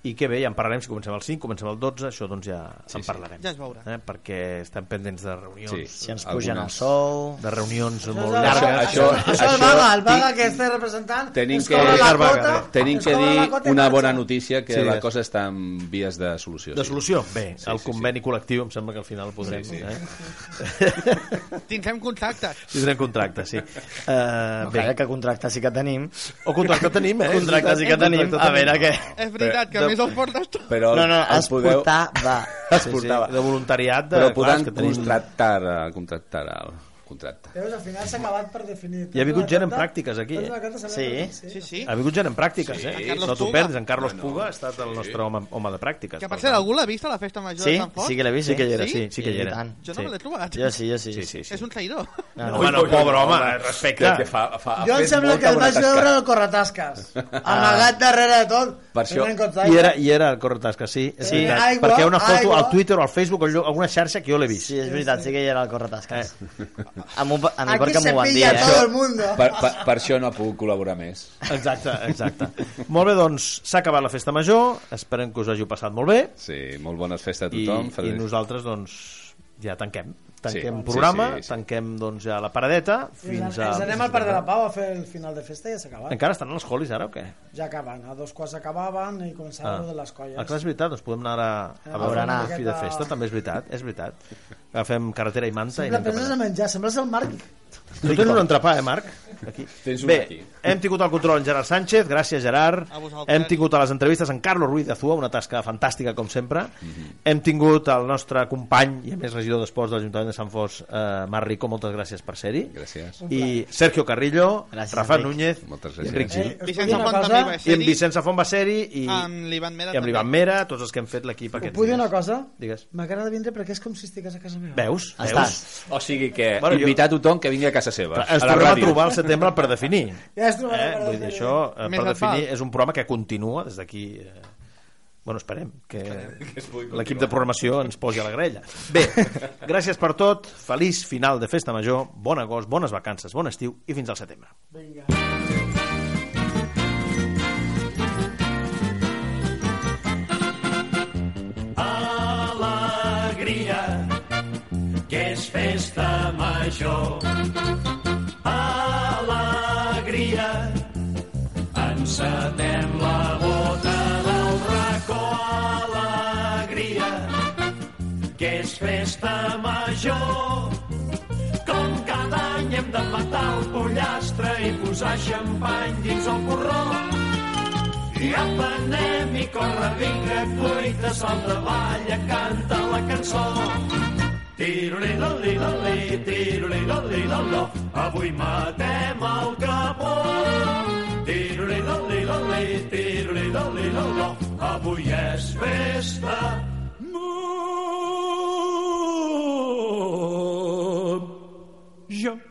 Speaker 2: I que bé, ja en parlarem, si comencem el 5, comencem el 12, això doncs ja sí, en parlarem.
Speaker 10: Ja es veurà.
Speaker 2: Eh? Perquè estem pendents de reunions.
Speaker 4: Sí,
Speaker 3: Si ens pugen el sou...
Speaker 2: De reunions molt
Speaker 15: Això-
Speaker 2: llargues.
Speaker 4: això-
Speaker 15: Això el vaga, el vaga que este representant
Speaker 4: Tenim
Speaker 15: ens
Speaker 4: que,
Speaker 15: cobra la quota,
Speaker 2: eh?
Speaker 4: tenim
Speaker 15: ens
Speaker 4: que
Speaker 15: cobra la quota
Speaker 4: dir
Speaker 15: i
Speaker 4: una
Speaker 15: marxa.
Speaker 4: bona notícia, que
Speaker 2: Sí,
Speaker 4: la
Speaker 2: és.
Speaker 4: cosa està en vies de solució.
Speaker 2: De
Speaker 4: sí.
Speaker 2: solució? Bé,
Speaker 4: Sí,
Speaker 2: el
Speaker 4: sí,
Speaker 2: conveni col·lectiu em sembla que al final el podrem...
Speaker 4: Sí, sí.
Speaker 2: Eh?
Speaker 10: Tindrem contactes.
Speaker 2: Tindrem contracte, sí. Uh,
Speaker 3: No, calla, Eh, que contracte sí que tenim.
Speaker 2: O contracte tenim, eh?
Speaker 3: Contracte sí que tenim. A veure què...
Speaker 10: És veritat, que a
Speaker 4: de-
Speaker 10: més el portes tu.
Speaker 4: Però
Speaker 3: No, no,
Speaker 4: el
Speaker 3: es
Speaker 4: podeu-
Speaker 3: portar va.
Speaker 4: Es
Speaker 2: Sí, sí,
Speaker 4: portava.
Speaker 2: de voluntariat de-
Speaker 4: Però
Speaker 2: clar, és
Speaker 4: podran
Speaker 2: que tenim-
Speaker 4: contractar, eh, contractar el contracte.
Speaker 15: Veus, al final s'ha acabat per definir.
Speaker 2: Hi ha vingut gent en pràctiques, aquí, eh?
Speaker 15: Eh?
Speaker 2: Sí.
Speaker 10: Sí, sí.
Speaker 2: Ha vingut gent en pràctiques,
Speaker 10: Sí,
Speaker 2: eh?
Speaker 10: en Carlos
Speaker 2: no t'ho
Speaker 10: Puga.
Speaker 2: perdis, en Carlos Puga ha estat el nostre home, home de pràctiques.
Speaker 10: Que per cert, algú l'ha vist a la festa major
Speaker 2: Sí,
Speaker 10: de Sant Fort?
Speaker 2: sí que l'he vist, sí que hi era, sí, sí que hi
Speaker 3: I
Speaker 2: era.
Speaker 3: tant.
Speaker 10: Jo no
Speaker 2: Sí.
Speaker 10: me l'he trobat.
Speaker 3: Jo sí, jo sí.
Speaker 2: Sí, sí, sí.
Speaker 10: És un traïdor.
Speaker 2: No, bueno, pobre home, respecte.
Speaker 4: Que fa, fa,
Speaker 15: Jo
Speaker 4: ha
Speaker 15: em
Speaker 4: fet
Speaker 15: sembla
Speaker 4: molta
Speaker 15: que el
Speaker 4: bona
Speaker 15: vaig
Speaker 4: tasca.
Speaker 15: veure al Corretasques. Amagat darrere de tot.
Speaker 2: Ah. Per això...
Speaker 15: Prenent cots d'aigua.
Speaker 2: I era, I era el Corretasca, sí. És
Speaker 15: Sí,
Speaker 2: veritat.
Speaker 15: aigua,
Speaker 2: perquè hi ha una foto
Speaker 15: aigua.
Speaker 2: al Twitter o al Facebook, o alguna xarxa que jo l'he vist.
Speaker 3: Sí, és veritat, sí que hi era el corretasques. A, mi, a mi
Speaker 15: Aquí
Speaker 3: perquè
Speaker 15: se
Speaker 3: m'ho van dir,
Speaker 15: pilla
Speaker 3: eh?
Speaker 15: todo el mundo.
Speaker 4: Per, per, per això no ha pogut col·laborar més.
Speaker 2: Exacte, exacte. Molt bé, doncs, s'ha acabat la festa major. Esperem que us hagi passat molt bé.
Speaker 4: Sí, molt bones festes a
Speaker 2: I,
Speaker 4: tothom.
Speaker 2: i
Speaker 4: Feliç-
Speaker 2: nosaltres, doncs, ja tanquem. Tanquem
Speaker 4: Sí,
Speaker 2: programa,
Speaker 4: sí, sí, sí.
Speaker 2: tanquem doncs, ja la paradeta. Fins
Speaker 15: Ens
Speaker 2: a...
Speaker 15: anem al Parc de la Pau a fer el final de festa i ja s'acaba.
Speaker 2: Encara estan els holis ara o què?
Speaker 15: Ja acaben, a dos quarts acabaven i començava ah. de les colles.
Speaker 2: Ah, clar, és veritat, doncs podem anar a,
Speaker 15: A
Speaker 2: a, veure
Speaker 15: berenar.
Speaker 2: un fi de festa, també és veritat, és veritat. Agafem carretera i manta
Speaker 15: Sempre
Speaker 2: i anem cap
Speaker 15: penses
Speaker 2: allà.
Speaker 15: a menjar, sembles el Marc. Eh,
Speaker 2: Tu tens un entrepà, eh, Marc? Aquí.
Speaker 4: Tens un
Speaker 2: Bé,
Speaker 4: aquí.
Speaker 2: hem tingut el control en Gerard Sánchez, gràcies Gerard.
Speaker 10: A vosaltres.
Speaker 2: Hem tingut a les entrevistes en Carlos Ruiz de Zua, una tasca fantàstica com sempre.
Speaker 4: Mhm.
Speaker 2: Hem tingut el nostre company i a més regidor d'Esports de l'Ajuntament de Sant Fos, eh, Marc Rico, moltes gràcies per ser-hi.
Speaker 4: Gràcies.
Speaker 2: I Sergio Carrillo,
Speaker 3: Gràcies,
Speaker 2: Rafa
Speaker 3: Enric.
Speaker 2: Núñez,
Speaker 4: Moltes
Speaker 2: i
Speaker 4: gràcies.
Speaker 2: Enric Gil.
Speaker 15: Eh,
Speaker 10: Vicenç
Speaker 15: Us
Speaker 10: Font
Speaker 15: vull dir una
Speaker 10: també
Speaker 15: cosa?
Speaker 10: va
Speaker 2: I en
Speaker 10: ser-hi.
Speaker 2: Vicenç Safon va ser-hi i,
Speaker 10: Amb l'Ivan Mera
Speaker 2: i amb
Speaker 10: també.
Speaker 2: l'Ivan Mera, tots els que hem fet l'equip
Speaker 15: Puc
Speaker 2: aquests
Speaker 15: dir una
Speaker 2: dies.
Speaker 15: cosa?
Speaker 2: Digues.
Speaker 15: M'agrada vindre perquè és com si estigués a casa meva.
Speaker 2: Veus?
Speaker 3: Estàs.
Speaker 2: Veus?
Speaker 4: O sigui que
Speaker 2: Bueno,
Speaker 4: bueno,
Speaker 2: jo-
Speaker 4: invitar a tothom que vingui a casa seva.
Speaker 2: Ens
Speaker 4: a la
Speaker 2: tornem a
Speaker 4: ràdio.
Speaker 2: trobar al setembre per definir.
Speaker 15: Ja es trobarà.
Speaker 2: Eh? Vull dir, això, eh,
Speaker 10: Més
Speaker 2: per
Speaker 10: al
Speaker 2: definir,
Speaker 10: pal.
Speaker 2: és un programa que continua des d'aquí... Eh, bueno, esperem que l'equip de programació ens posi a la grella. Bé, gràcies per tot, feliç final de Festa Major, bon agost, bones vacances, bon estiu i fins al setembre.
Speaker 1: Alegria, que és festa major. Alegria, encetem la bota del racó. Alegria, que és festa major. Com cada any hem de matar el pollastre i posar xampany dins el porró. I apa, anem i corre, vinga, cuita, salta, balla, canta la cançó. Tiro-li-do-li-do-li, tiro-li-do-li-do-lo, avui matem el capó. Tiro-li-do-li-do-li, tiro-li-do-li-do-lo, avui és festa major.